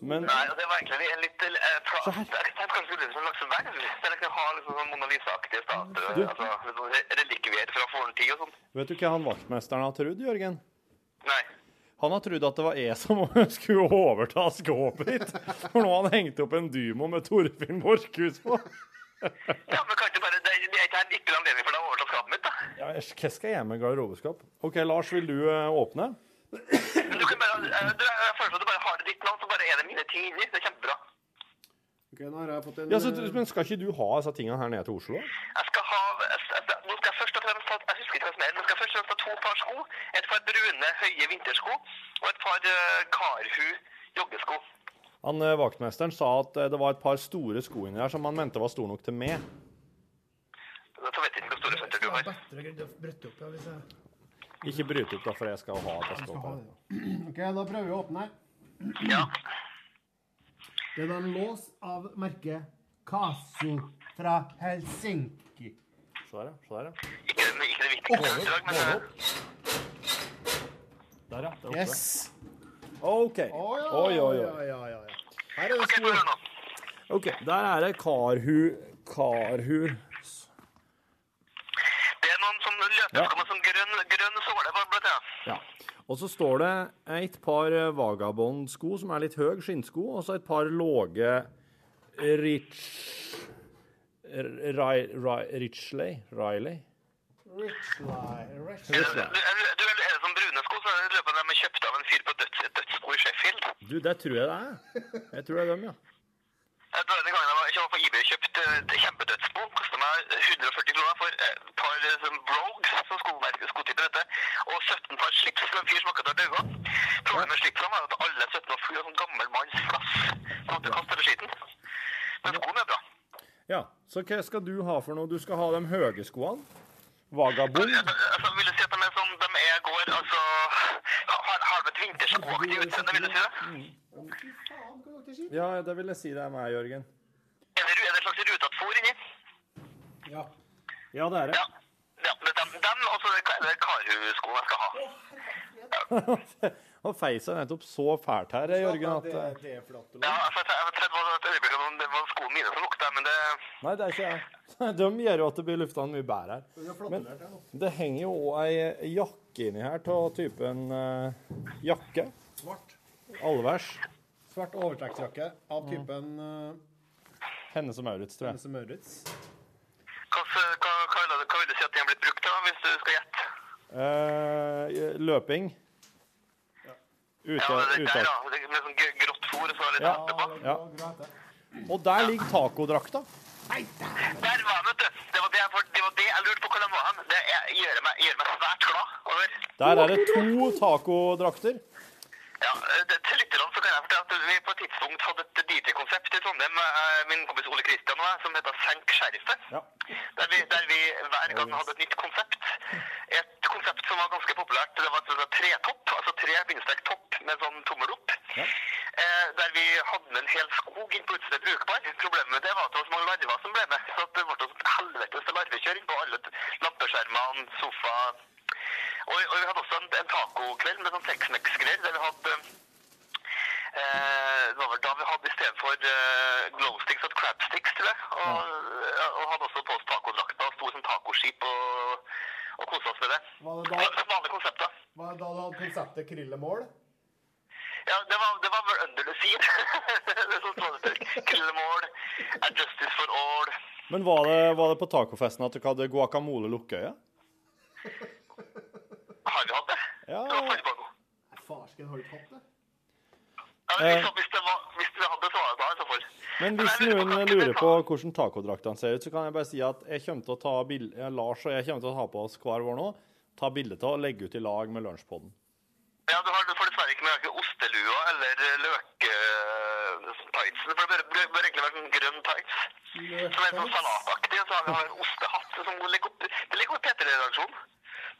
Speaker 4: Men
Speaker 13: Nei, og det var egentlig en litt eh, pla- Jeg tenkte kanskje det er som en slags verv. Der jeg kan ha liksom sånn Mona Lisa-aktige statuer.
Speaker 4: Du-
Speaker 13: Altså, litt sånn re- relikvier fra forrige tid og sånn.
Speaker 4: vet du hva han vaktmesteren har trodd, Jørgen?
Speaker 13: Nei.
Speaker 4: Han har trodd at det var jeg som skulle overta skåpet ditt. For nå har han hengt opp en Dymo med Torfinn Borchhus på.
Speaker 13: Ja, men kanskje bare Det, det er ikke en ytterligere anledning for deg å overta skapet mitt, da.
Speaker 4: Ja, æsj, hva skal jeg med garderobeskap? OK, Lars, vil du eh, åpne?
Speaker 13: Men du kan bare eh, du, Jeg foreslår at du bare har det ditt navn, så bare er det mine ting inni. Det er kjempebra.
Speaker 14: Ok, nå har jeg fått en
Speaker 4: Ja, så,
Speaker 14: eh,
Speaker 4: men skal ikke du ha disse tingene her nede til Oslo?
Speaker 13: Nå skal jeg først og fremst ha Jeg husker ikke hva som er, men jeg skal først og fremst ha to par sko. Et par brune, høye vintersko og et par eh, Karhu joggesko.
Speaker 4: Han, eh, vaktmesteren sa at eh, det var et par store sko inni der som han mente var store nok til meg.
Speaker 13: Så vet jeg ikke hvor store føtter du har.
Speaker 19: Brøtt opp, ja, hvis jeg...
Speaker 4: Ikke bryt opp, da, for jeg skal ha et skåp her.
Speaker 19: Ok, da prøver vi å åpne.
Speaker 13: Ja.
Speaker 19: Det er da en lås av merket Kasu fra Helsinki.
Speaker 4: Se der, ja. Se der, ja.
Speaker 13: Ikke, ikke det viktigste
Speaker 4: Åh,
Speaker 13: utdrag, men eh,
Speaker 4: Der, ja. Det er oppe.
Speaker 19: Yes.
Speaker 4: OK. Oi, oi, oi.
Speaker 14: Her er det sko.
Speaker 4: OK, der er det Karhu Karhu
Speaker 13: Det er noen som løper
Speaker 4: Ja.
Speaker 13: med en sånn grønn, grønn såle på blant annet.
Speaker 4: Ja. Og så står det et par eh, vagabondsko som er litt høy, skinnsko, og så et par låge Rich... Ri- Ri- Richley? Riley? Richley.
Speaker 13: Du er, er det sånn brune sko, så er det løpet de er kjøpt av en fyr på døds, et dødsbo i Sheffield.
Speaker 4: Du, det tror jeg det er. Jeg tror det er dem, ja.
Speaker 13: Jeg drar den gangen jeg var, jeg var på eBay og kjøpte et kjempedødsbo. Kostet meg 140 kroner for et par eh, sånn brogues, som skomerke, skotyper heter, og 17 par slips fra en fyr som akkurat har dødd. Problemet med slipsene var at alle 17 var fulle av sånn gammel manns flass. Så måtte jeg kaste det skiten. Men skoene er bra.
Speaker 4: Ja, Så hva skal du ha for noe? Du skal ha de høye skoene? Vagabond?
Speaker 13: Altså, vil du si at de er sånn de er går, altså har- har, har de et vinterskoaktig utseende, vil du si sånn, det?
Speaker 4: Mm. Ja, det vil jeg si det er meg, Jørgen.
Speaker 13: Er det, er det et slags rutet fôr inni?
Speaker 4: Ja, det er det.
Speaker 13: Ja, men dem, dem og så er det- er det Karhu-skoene jeg skal ha.
Speaker 4: Nå feis jeg nettopp så fælt her, eh, Jørgen, at eh,
Speaker 14: er flott.
Speaker 13: Ja, jeg vet jeg vet- jeg vet et øyeblikk om det var skoene mine som lukta, men det
Speaker 4: Nei, det er ikke jeg. De gjør jo at det blir lufta mye bedre her. Men det henger jo òg ei jakke inni her av typen eh, jakke.
Speaker 14: Svart.
Speaker 4: Allværs.
Speaker 14: Svart overtrekksjakke av
Speaker 4: Mm.
Speaker 14: typen eh,
Speaker 4: Henne som Maurits, tror jeg.
Speaker 14: Hennes og Mauritz.
Speaker 13: Hva, hva, hva, vil du- hva vil du si at de har blitt brukt da, hvis du skal gjette?
Speaker 4: Eh, løping. Ute,
Speaker 13: Ja, det der,
Speaker 4: ute.
Speaker 13: da. Det er Med sånn gr- grått fôr og så litt
Speaker 4: Ja,
Speaker 13: hatt på.
Speaker 4: ja. Og der ligger tacodrakta.
Speaker 13: Der var vet du! Det var det jeg, for- det var det jeg lurte på hvor de var hen. Det er, gjør, meg, gjør meg svært glad. Over.
Speaker 4: Der er det to tacodrakter.
Speaker 13: Ja, eh, det- Til lytterne så kan jeg fortelle at vi på et tidspunkt hadde et DJ-konsept i Trondheim. eh, Min kompis Ole Kristian på noe som heter Senk skjerfet. Der, vi, der vi hver gang hadde et nytt konsept. Et konsept som var ganske populært. Det var et sånt tretopp, altså tre bindestrek topp med sånn tommel opp. Eh, der vi hadde med en hel skog inn på utstedet brukbar. Problemet med det var at det var så mange larver som ble med. Så at det ble et helvetes larvekjøring på alle t- lampeskjermene, sofa Og, og vi hadde også en, en tacokveld med sånn Tex-Mex-greier der vi hadde Eh, det var vel da vi hadde istedenfor uh, glowsticks og crabsticks, tror jeg. Og, og hadde også på oss tacodrakta og sto som tacoskip og, og kosa oss med det.
Speaker 14: Var det
Speaker 13: Som
Speaker 14: da,
Speaker 13: vanlige konsepter.
Speaker 14: var det da du hadde konseptet krillemål?
Speaker 13: Ja, det var, det var vel Under the Sea. det er sånn småtørk. Krøllemål. A Justice for All.
Speaker 4: Men var det, var det på tacofesten at dere hadde guacamole lukkøye?
Speaker 13: Har vi hatt det?
Speaker 4: Ja.
Speaker 13: Det var forrige gang.
Speaker 14: Farsken har du ikke hatt det?
Speaker 13: Ja,
Speaker 4: Eh.
Speaker 13: hvis, hvis, det var, hvis vi hadde det, så var det da, i så fall.
Speaker 4: Men hvis noen lurer på hvordan tacodraktene ser ut, så kan jeg bare si at jeg kommer til å ta bil eh, Lars og jeg kommer til å ha på oss hver vår nå, ta bilde av og legge ut i lag med lunsjpodden.
Speaker 13: Ja, du har du får dessverre ikke med verken ostelua eller løk-tightsen. For det bør, bør, bør egentlig være en grønn tights. Som er sånn salataktig, og så har vi har en ostehatt som legger opp Det ligger opp i P3-redaksjonen.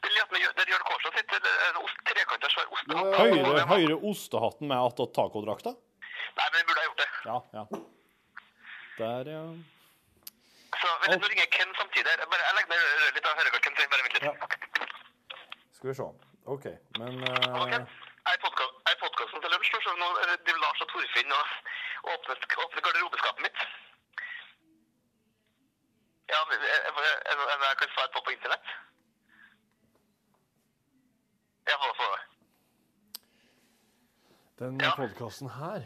Speaker 13: Det ligger opp med- Der Jørn Kårstad sitter, det er en ost, trekanta svær ostehatt.
Speaker 4: Høyre, høyre ostehatten med attåt tacodrakta?
Speaker 13: Nei, men vi burde ha gjort det.
Speaker 4: Ja, ja. Der, ja.
Speaker 13: Så vet du, nå ringer Ken samtidig. her. Jeg Bare, jeg legger meg røret litt og hører hva Ken sier. Bare vent litt.
Speaker 4: Skal vi se. OK, men eh,
Speaker 13: Jeg er podkasten til lunsj, nå, så nå er det Lars og Torfinn og åpner, åpner garderobeskapet mitt. Ja, men jeg, jeg, jeg, jeg, jeg kan svare på på internett. Jeg får få det.
Speaker 4: Den podkasten her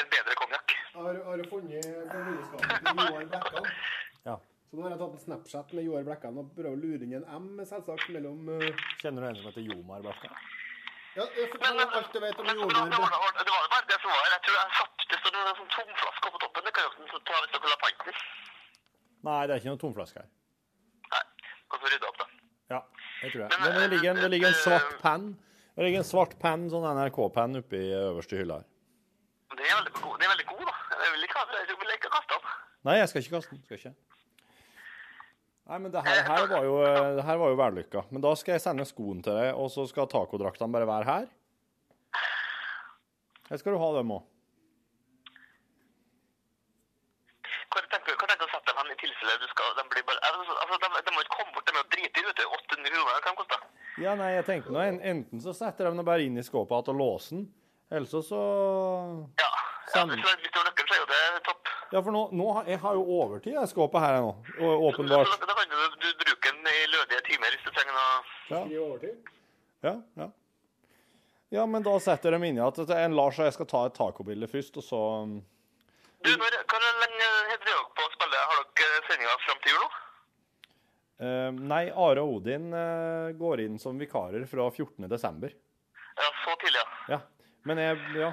Speaker 13: En bedre konjakk.
Speaker 14: Har, har du funnet på hundeskapet til Joar Blekkan?
Speaker 4: Ja.
Speaker 14: Så nå har jeg tatt en Snapchat med Joar Blekkan og prøver å lure inn en M, selvsagt, mellom eh,
Speaker 4: Kjenner du en som heter Jomar Blakka?
Speaker 14: Ja, eh, fortell om alt du vet om Joar
Speaker 13: Det var,
Speaker 14: Blekkan.
Speaker 13: det var jo bare det som var her. Jeg tror jeg satt det står en sånn tomflaske oppå toppen. Det kan jo ikke ta hvis dere vil ha panten.
Speaker 4: Nei, det er ikke noen tomflaske her.
Speaker 13: Og så rydde opp, da. eh,
Speaker 4: Ja, jeg tror det. Men det ligger en, det ligger en svart penn. Det ligger en svart penn, sånn NRK-penn, oppi øverste hylla her.
Speaker 13: Men Den er veldig god, den er veldig god da. Jeg vil ikke ha den. Jeg vil ikke kaste den.
Speaker 4: Nei, jeg skal ikke kaste den. Skal ikke. Nei, men det her, her var jo, eh, det her var jo vellykka. Men da skal jeg sende skoen til deg, og så skal tacodraktene bare være her. Eller skal du ha dem òg?
Speaker 13: Hva tenker du hva tenker du å sette dem hen i tilfelle du skal De blir bare Altså, de, de må ikke komme bort. De er jo drite i, vet du. 800 kroner kan koste.
Speaker 4: Ja, nei, jeg tenkte nå en- enten så setter de den bare inn i skåpet igjen og låser den, eller så så
Speaker 13: Ja. ja
Speaker 4: Send.
Speaker 13: hvis du har- hvis du har nøkkel, så er jo det topp.
Speaker 4: Ja, for nå, nå har, jeg har jo overtid, jeg, skåpet her nå. å- Åpenbart.
Speaker 13: Da kan du, du bruke den i lødige timer hvis du trenger noe
Speaker 4: Ja. Ja, ja. Ja, men da setter de inn i at en Lars og jeg skal ta et tacobilde først, og så
Speaker 13: Du, når, Hvor lenge har dere på å spille? Har dere sendinga fram til jul nå?
Speaker 4: eh, Nei, Are og Odin eh, går inn som vikarer fra 14. desember.
Speaker 13: Ja, så tidlig, ja.
Speaker 4: Ja. Men jeg Ja.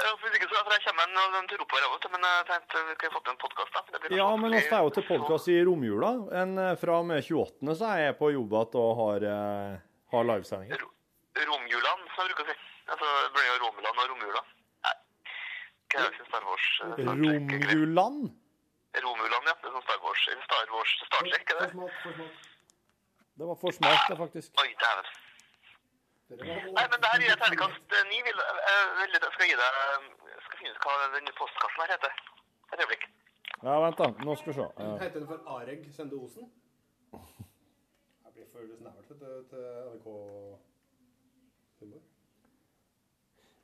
Speaker 13: Ja, Hvis ikke så for jeg kommer en, en tur oppover, jeg, vet du. Men jeg tenkte vi kunne fått en podkast, da. Det blir
Speaker 4: Ja,
Speaker 13: kanskje
Speaker 4: men vi er jo til podkast i romjula. En, eh, fra og med 28. så er jeg på jobb igjen og har, eh, har livesendinger.
Speaker 13: Romjulan, som jeg bruker å si. Altså, det blir jo Romulan og romjula. Nei, hva er det som Star Wars eh, Star Trek-
Speaker 4: Romjuland?
Speaker 13: Romulan, ja. Det er sånn Star Wars Star Wars Star Trek, er det?
Speaker 4: Det var for smart, det, faktisk.
Speaker 13: Oi, dæven. Nei, men det her gir jeg terningkast eh, ni. Vil, eh, vil, jeg skal gi deg jeg skal finne ut hva denne postkassen her heter. Et øyeblikk.
Speaker 4: Ja, vent, da. Nå skal vi se. Eh,
Speaker 14: Heter den for Areg Sende Osen? Jeg blir for snevert vet du, til NRK-humor.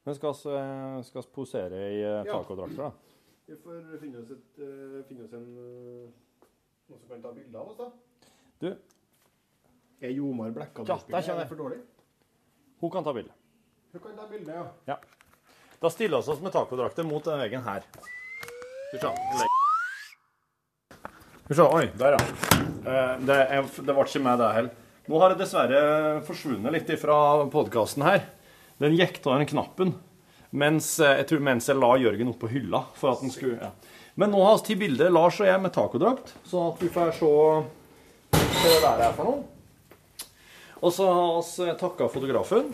Speaker 4: Men skal vi eh, skal vi posere i eh,
Speaker 14: Ja.
Speaker 4: tacodrakter, da?
Speaker 14: Vi får finne oss, et, eh, finne oss en eh, noen som kan ta bilder av oss, da.
Speaker 4: Du.
Speaker 14: Er Jomar Blekka
Speaker 4: Ja, der kommer
Speaker 14: for dårlig?
Speaker 4: Hun kan ta bilde.
Speaker 14: Hun kan ta bilde, ja.
Speaker 4: Ja. Da stiller vi oss med tacodrakter mot den veggen her. Skal vi se. Legg. Skal vi se. Oi, der, ja. Eh, Det, er, det ble ikke meg, det heller. Nå har det dessverre forsvunnet litt fra podkasten her. Den gikk av den knappen mens eh, jeg, tror, mens jeg la Jørgen opp på hylla. for at den skulle... Ja. Men nå har vi tatt bilde, Lars og jeg, med tacodrakt, sånn at vi får se hva det der er for noe. Og så har vi takka fotografen.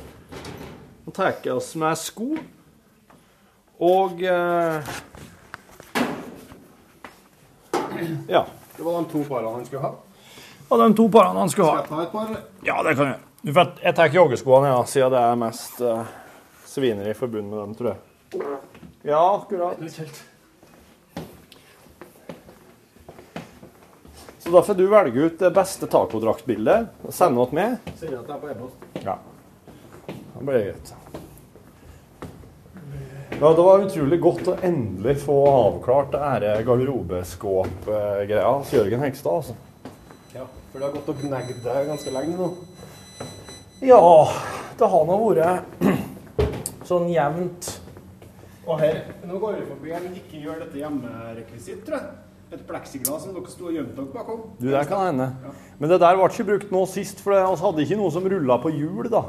Speaker 4: Nå tar jeg oss med sko og eh, Ja.
Speaker 14: Det var de to parene han skulle ha.
Speaker 4: Og de to parene han skulle ha.
Speaker 14: Skal jeg ta et par? eller?
Speaker 4: Ja, det kan jeg. Du vet, jeg tar joggeskoene, ja, siden det er mest eh, svineri forbundet med dem, tror jeg. Ja, akkurat. Så da får du velge ut det beste tacodraktbildet og sende det til meg.
Speaker 14: Sier at det er på e-post.
Speaker 4: Ja. Da blir det greit. Ja, det var utrolig godt å endelig få avklart det her garderobeskåp-greia til Jørgen Hegstad, altså.
Speaker 14: Ja, for det har gått og gnagd deg ganske lenge nå.
Speaker 4: Ja, det har nå vært sånn jevnt.
Speaker 14: Og her, nå går vi forbi en ikke gjør dette hjemmerekvisitt, tror jeg. Et pleksiglass som dere sto og gjemte dere bakom.
Speaker 4: Du, det kan hende. Men det der ble ikke brukt nå sist, for vi hadde ikke noe som rulla på hjul, da.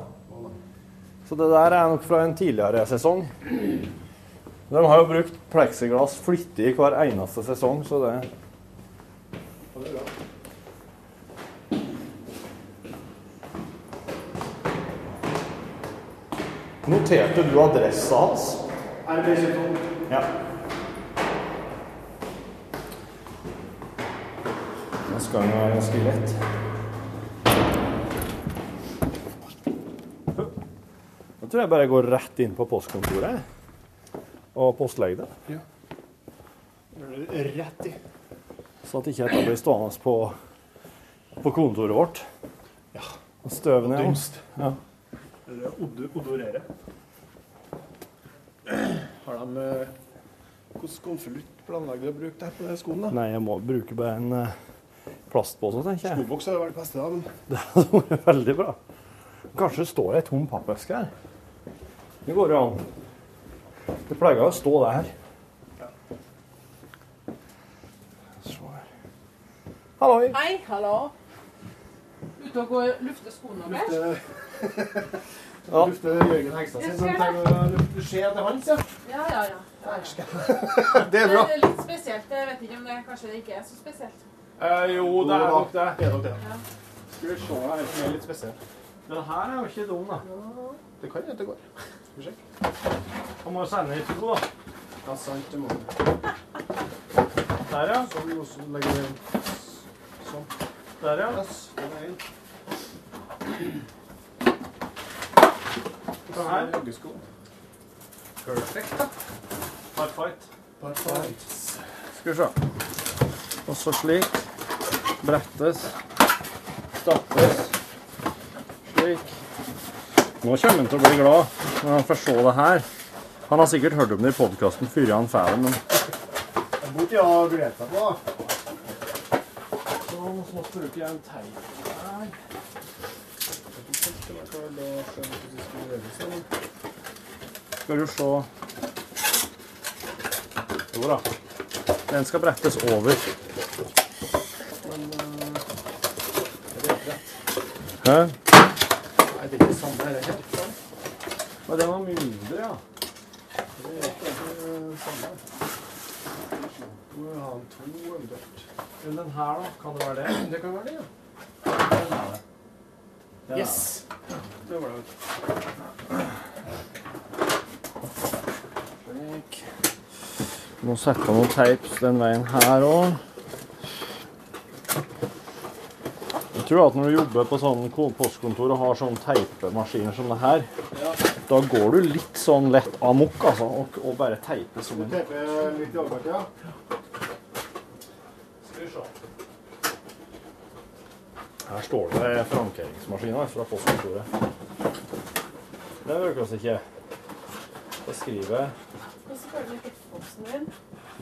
Speaker 4: Så det der er nok fra en tidligere sesong. De har jo brukt pleksiglass flittig hver eneste sesong, så det
Speaker 14: Og
Speaker 9: eh.
Speaker 14: det er bra.
Speaker 4: Noterte du adressa hans?
Speaker 14: RB22.
Speaker 4: Ja. Det skal jo være ganske lett. Da tror jeg bare jeg går rett inn på postkontoret og postlegger det.
Speaker 14: sånn. Rett i.
Speaker 4: Så at ikke dette blir stående på, på kontoret vårt. Og støv ned.
Speaker 14: Dynst.
Speaker 4: Ja.
Speaker 14: Eller odo- odorere. Har de eh, Hvordan konvolutt planlegger de å bruke det her på de skoene? da?
Speaker 4: Nei, jeg må bruke bare en eh, plastpose, tenker jeg.
Speaker 14: Skoboks hadde vært det beste, da, men
Speaker 4: Det hadde vært veldig bra. Kanskje det står ei tom pappeske her. Det går jo an. Det pleier å stå der. Så her. Halloi.
Speaker 20: Hei, hallo. Ute og går lufte skoene deres?
Speaker 14: ja. lufter Jørgen Hegstad sin, så han trenger å lufte skje til hans, ja.
Speaker 20: Ja, ja, ja. ja, ja.
Speaker 14: Det er bra.
Speaker 20: Men litt spesielt. Jeg vet ikke om det kanskje det ikke er så spesielt.
Speaker 4: jo,
Speaker 14: Eh, det er nok
Speaker 4: det.
Speaker 14: Det er nok det.
Speaker 20: Ja.
Speaker 14: Skal vi se her, som er litt spesiell.
Speaker 4: Den her er jo ikke dum, da.
Speaker 14: Det kan hende det går. Skal vi sjekke.
Speaker 4: Han må sende i to, da.
Speaker 14: Ja, sant, det må vi.
Speaker 4: Der, ja.
Speaker 14: Sånn, og så legger vi den sånn.
Speaker 4: Der, ja.
Speaker 14: Yes, den er inn.
Speaker 4: Den Sånn her.
Speaker 14: Sånn Joggesko. Perfekt, da.
Speaker 4: Perfekt.
Speaker 14: Perfekt.
Speaker 4: Skal vi se. Og så slik. Brettes. Stappes. Slik. Nå kommer han til å bli glad når han får se det her. Han har sikkert hørt om det i podkasten før han får det, men
Speaker 14: Det burde jeg ha gledet meg på.
Speaker 4: Så må vi bruke en teip her. Skal du se Jo da. Den skal brettes over.
Speaker 14: Men eh, er det helt rett?
Speaker 4: Hæ?
Speaker 14: Nei, det er ikke samme her. Det er helt sant.
Speaker 4: Men den var mindre, ja.
Speaker 14: Det er ikke eh, samme. Må jo ha en to eventuelt.
Speaker 4: Men den her, da? Kan det være det?
Speaker 14: Det kan være det, ja.
Speaker 4: Den er
Speaker 14: yes! Det var det.
Speaker 4: Slik. Må sette noen teips den veien her òg. Jeg tror at når du jobber på sånn ko- postkontor og har sånne teipemaskiner som det her, da går du litt sånn lett amok, altså, og, og bare teiper som
Speaker 14: Skal vi
Speaker 4: en
Speaker 14: tepe litt i overkant, ja?
Speaker 4: Skal vi se. Her står det frankeringsmaskiner fra postkontoret. Det bruker oss ikke. Det skriver
Speaker 20: Hvordan går det med kickboksen din?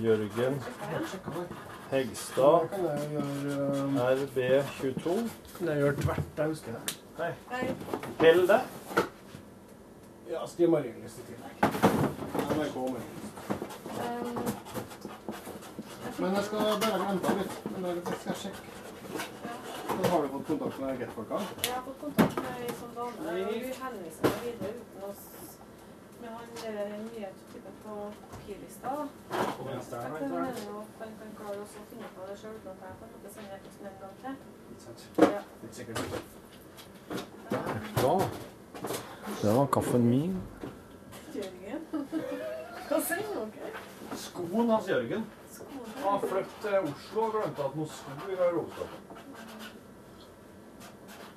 Speaker 4: Jørgen
Speaker 14: Da
Speaker 4: Hegstad
Speaker 14: kan jeg gjøre eh,
Speaker 4: RB22.
Speaker 14: Kan jeg gjøre tvert, jeg husker det.
Speaker 4: Nei.
Speaker 20: Nei.
Speaker 4: Hell det.
Speaker 14: Ja, Stig Marienlyst i tillegg. NRK Marienlyst. Men jeg skal bare glemme det litt. Men jeg skal sjekke. Så har du fått kontakt med Get-folka?
Speaker 20: Jeg har fått kontakt med ei sånn dame, og hun henviser meg videre uten å s- Men han der er den nye typen eh, på papirlista. da.
Speaker 4: På venstre her,
Speaker 20: Jeg
Speaker 4: venstre her.
Speaker 20: mener jo at han kan klare også å finne ut av det sjøl, uten at jeg på en måte sender e-posten en gang til. Ja.
Speaker 14: Litt sikkert.
Speaker 4: Bra. Det var kaffen min.
Speaker 20: Jørgen. Hva sier dere?
Speaker 4: Skoen hans Jørgen.
Speaker 20: Skoene.
Speaker 4: Han har flyttet til Oslo og glemte at noen sko i garderoben.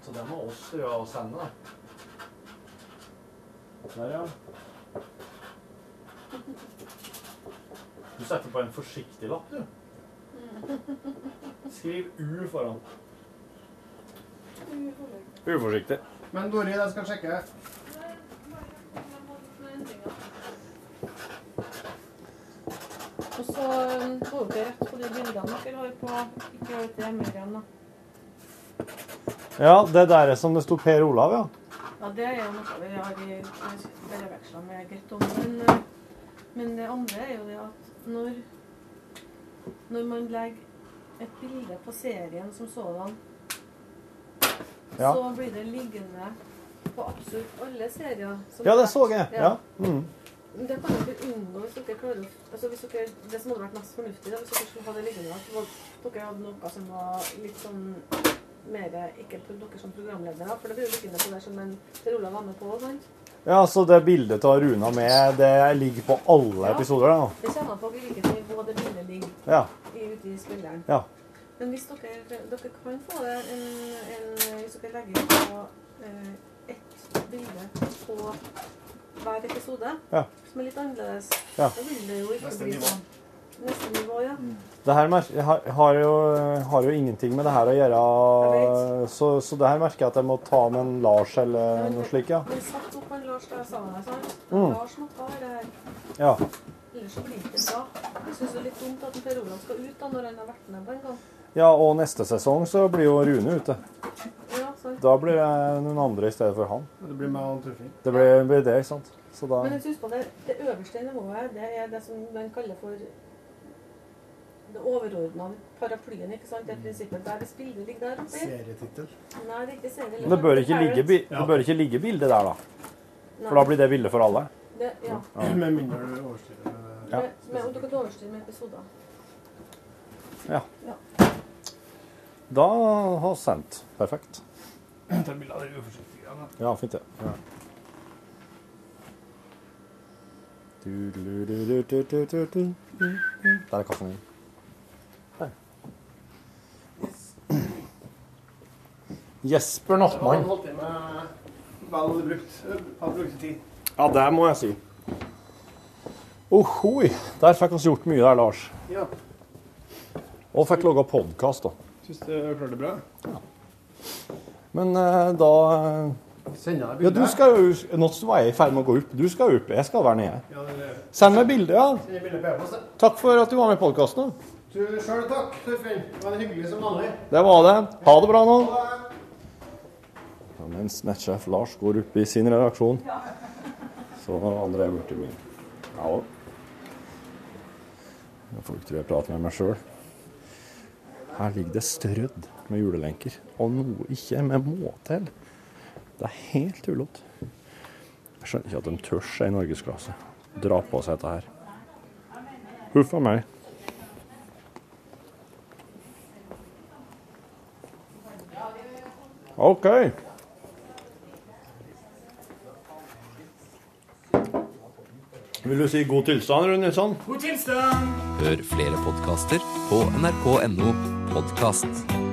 Speaker 21: Så det må oss gjøre og sende, da.
Speaker 4: Der, ja.
Speaker 21: Du setter på en forsiktig lapp, du.
Speaker 4: Skriv U foran. Uforsiktig.
Speaker 14: Men Dori, jeg skal sjekke.
Speaker 20: Og så um, går det rett på de bildene dere har på Ikke gjør dette hjemme igjen, da.
Speaker 4: Ja, det der er som det sto Per Olav, ja.
Speaker 20: Ja, det er jo noe vi har i brevveksla med Greit om. Men, eh, men det andre er jo det at når, når man legger et bilde på serien som sådan,
Speaker 4: Ja.
Speaker 20: så blir det liggende på absolutt alle serier. som
Speaker 4: Ja,
Speaker 20: er
Speaker 4: det
Speaker 20: lagt.
Speaker 4: så jeg. Ja. Mm.
Speaker 20: Men Det kan dere unngå hvis dere klarer å altså hvis dere, Det som hadde vært mest fornuftig, da, hvis dere skulle ha det liggende, at det var- dere hadde noe som var litt sånn mer Ikke på dere som programledere, for det blir jo liggende på der som en Per Olav var med på. Sant?
Speaker 4: Ja, så det bildet av Runa med, det ligger på alle
Speaker 20: Ja.
Speaker 4: episoder da.
Speaker 20: Det kommer an på hvilket nivå det bildet ligger
Speaker 4: Ja.
Speaker 20: i- ute i spilleren.
Speaker 4: Ja.
Speaker 20: Men hvis dere, dere kan få det en, en, Hvis dere legger inn på eh, ett bilde på hver episode,
Speaker 4: Ja.
Speaker 20: som er litt annerledes,
Speaker 4: Ja.
Speaker 20: da vil det jo ikke
Speaker 14: Neste
Speaker 20: bli
Speaker 14: nivå. Mm.
Speaker 20: sånn. Neste nivå, ja.
Speaker 4: Det her mer- har, har, jo, har jo ingenting med det her å gjøre, så, så det her merker jeg at jeg må ta med en Lars eller noe slikt, ja.
Speaker 20: Men satt opp en Lars der sammen, sant?
Speaker 4: Mm.
Speaker 20: Lars måtte ha det her.
Speaker 4: Ja.
Speaker 20: Ellers så blir det ikke bra. Jeg syns det er litt dumt at Per Olav skal ut da, når han har vært med på en gang.
Speaker 4: Ja, og neste sesong så blir jo Rune ute.
Speaker 20: Ja, sant.
Speaker 4: Da blir det noen andre i stedet for han.
Speaker 14: Det blir meg og Torfinn.
Speaker 4: Det blir, blir det, ikke sant? Så da...
Speaker 20: Men jeg synes på det, det øverste nivået, det er det som man kaller for det overordna paraplyen. ikke sant? Det prinsippet der det spillet ligger der oppi.
Speaker 14: Serietittel.
Speaker 20: Nei, det er ikke serie.
Speaker 4: Men det bør ikke ligge, bi- det bør ikke ligge bildet der da. For da blir det bildet for alle.
Speaker 20: det, ja.
Speaker 14: Med mindre du overstyrer eh,
Speaker 4: Ja.
Speaker 20: Men, men om dere kan overstyre med episoder.
Speaker 4: Ja.
Speaker 20: Ja.
Speaker 4: Da har sendt. Perfekt.
Speaker 14: Ta bilde av det uforsiktige. Ja.
Speaker 4: Ja, fint det. Ja. Du, du, du, du, du, du, du, du. Der er kaffen min. Der. Jesper
Speaker 14: Han
Speaker 4: Nattmann.
Speaker 14: holdt i med vel brukt. Han brukte tid.
Speaker 4: Ja, det må jeg si. Ohoi! Der fikk vi gjort mye der, Lars.
Speaker 14: Ja.
Speaker 4: Og fikk laga podkast, da.
Speaker 14: Syns du klarte det bra?
Speaker 4: Men eh, da
Speaker 14: Sender jeg
Speaker 4: Ja,
Speaker 14: bildet?
Speaker 4: du skal jo Nå var jeg i ferd med å gå opp. Du skal opp. Jeg skal være nede.
Speaker 14: Ja, det er det.
Speaker 4: Send meg bilde, ja.
Speaker 14: Sender bildet på e-post. da.
Speaker 4: Takk for at du var med i podkasten.
Speaker 14: Du sjøl takk, Torfinn. Det var hyggelig som vanlig.
Speaker 4: Det var det. Ha det bra nå. Ja, mens nettsjef Lars går opp i sin redaksjon, så har André blitt i min. Ja òg. Folk tror jeg prater med meg sjøl. Her ligger det strødd med julelenker, og noe ikke med måte til. Det er helt tullete. Jeg skjønner ikke at de tør seg i norgesklasse. Dra på seg dette her. Huff a meg. OK. Vil du si god tilstand, Rune Nilsson?
Speaker 3: God tilstand! Hør flere podkaster på nrk.no podkast.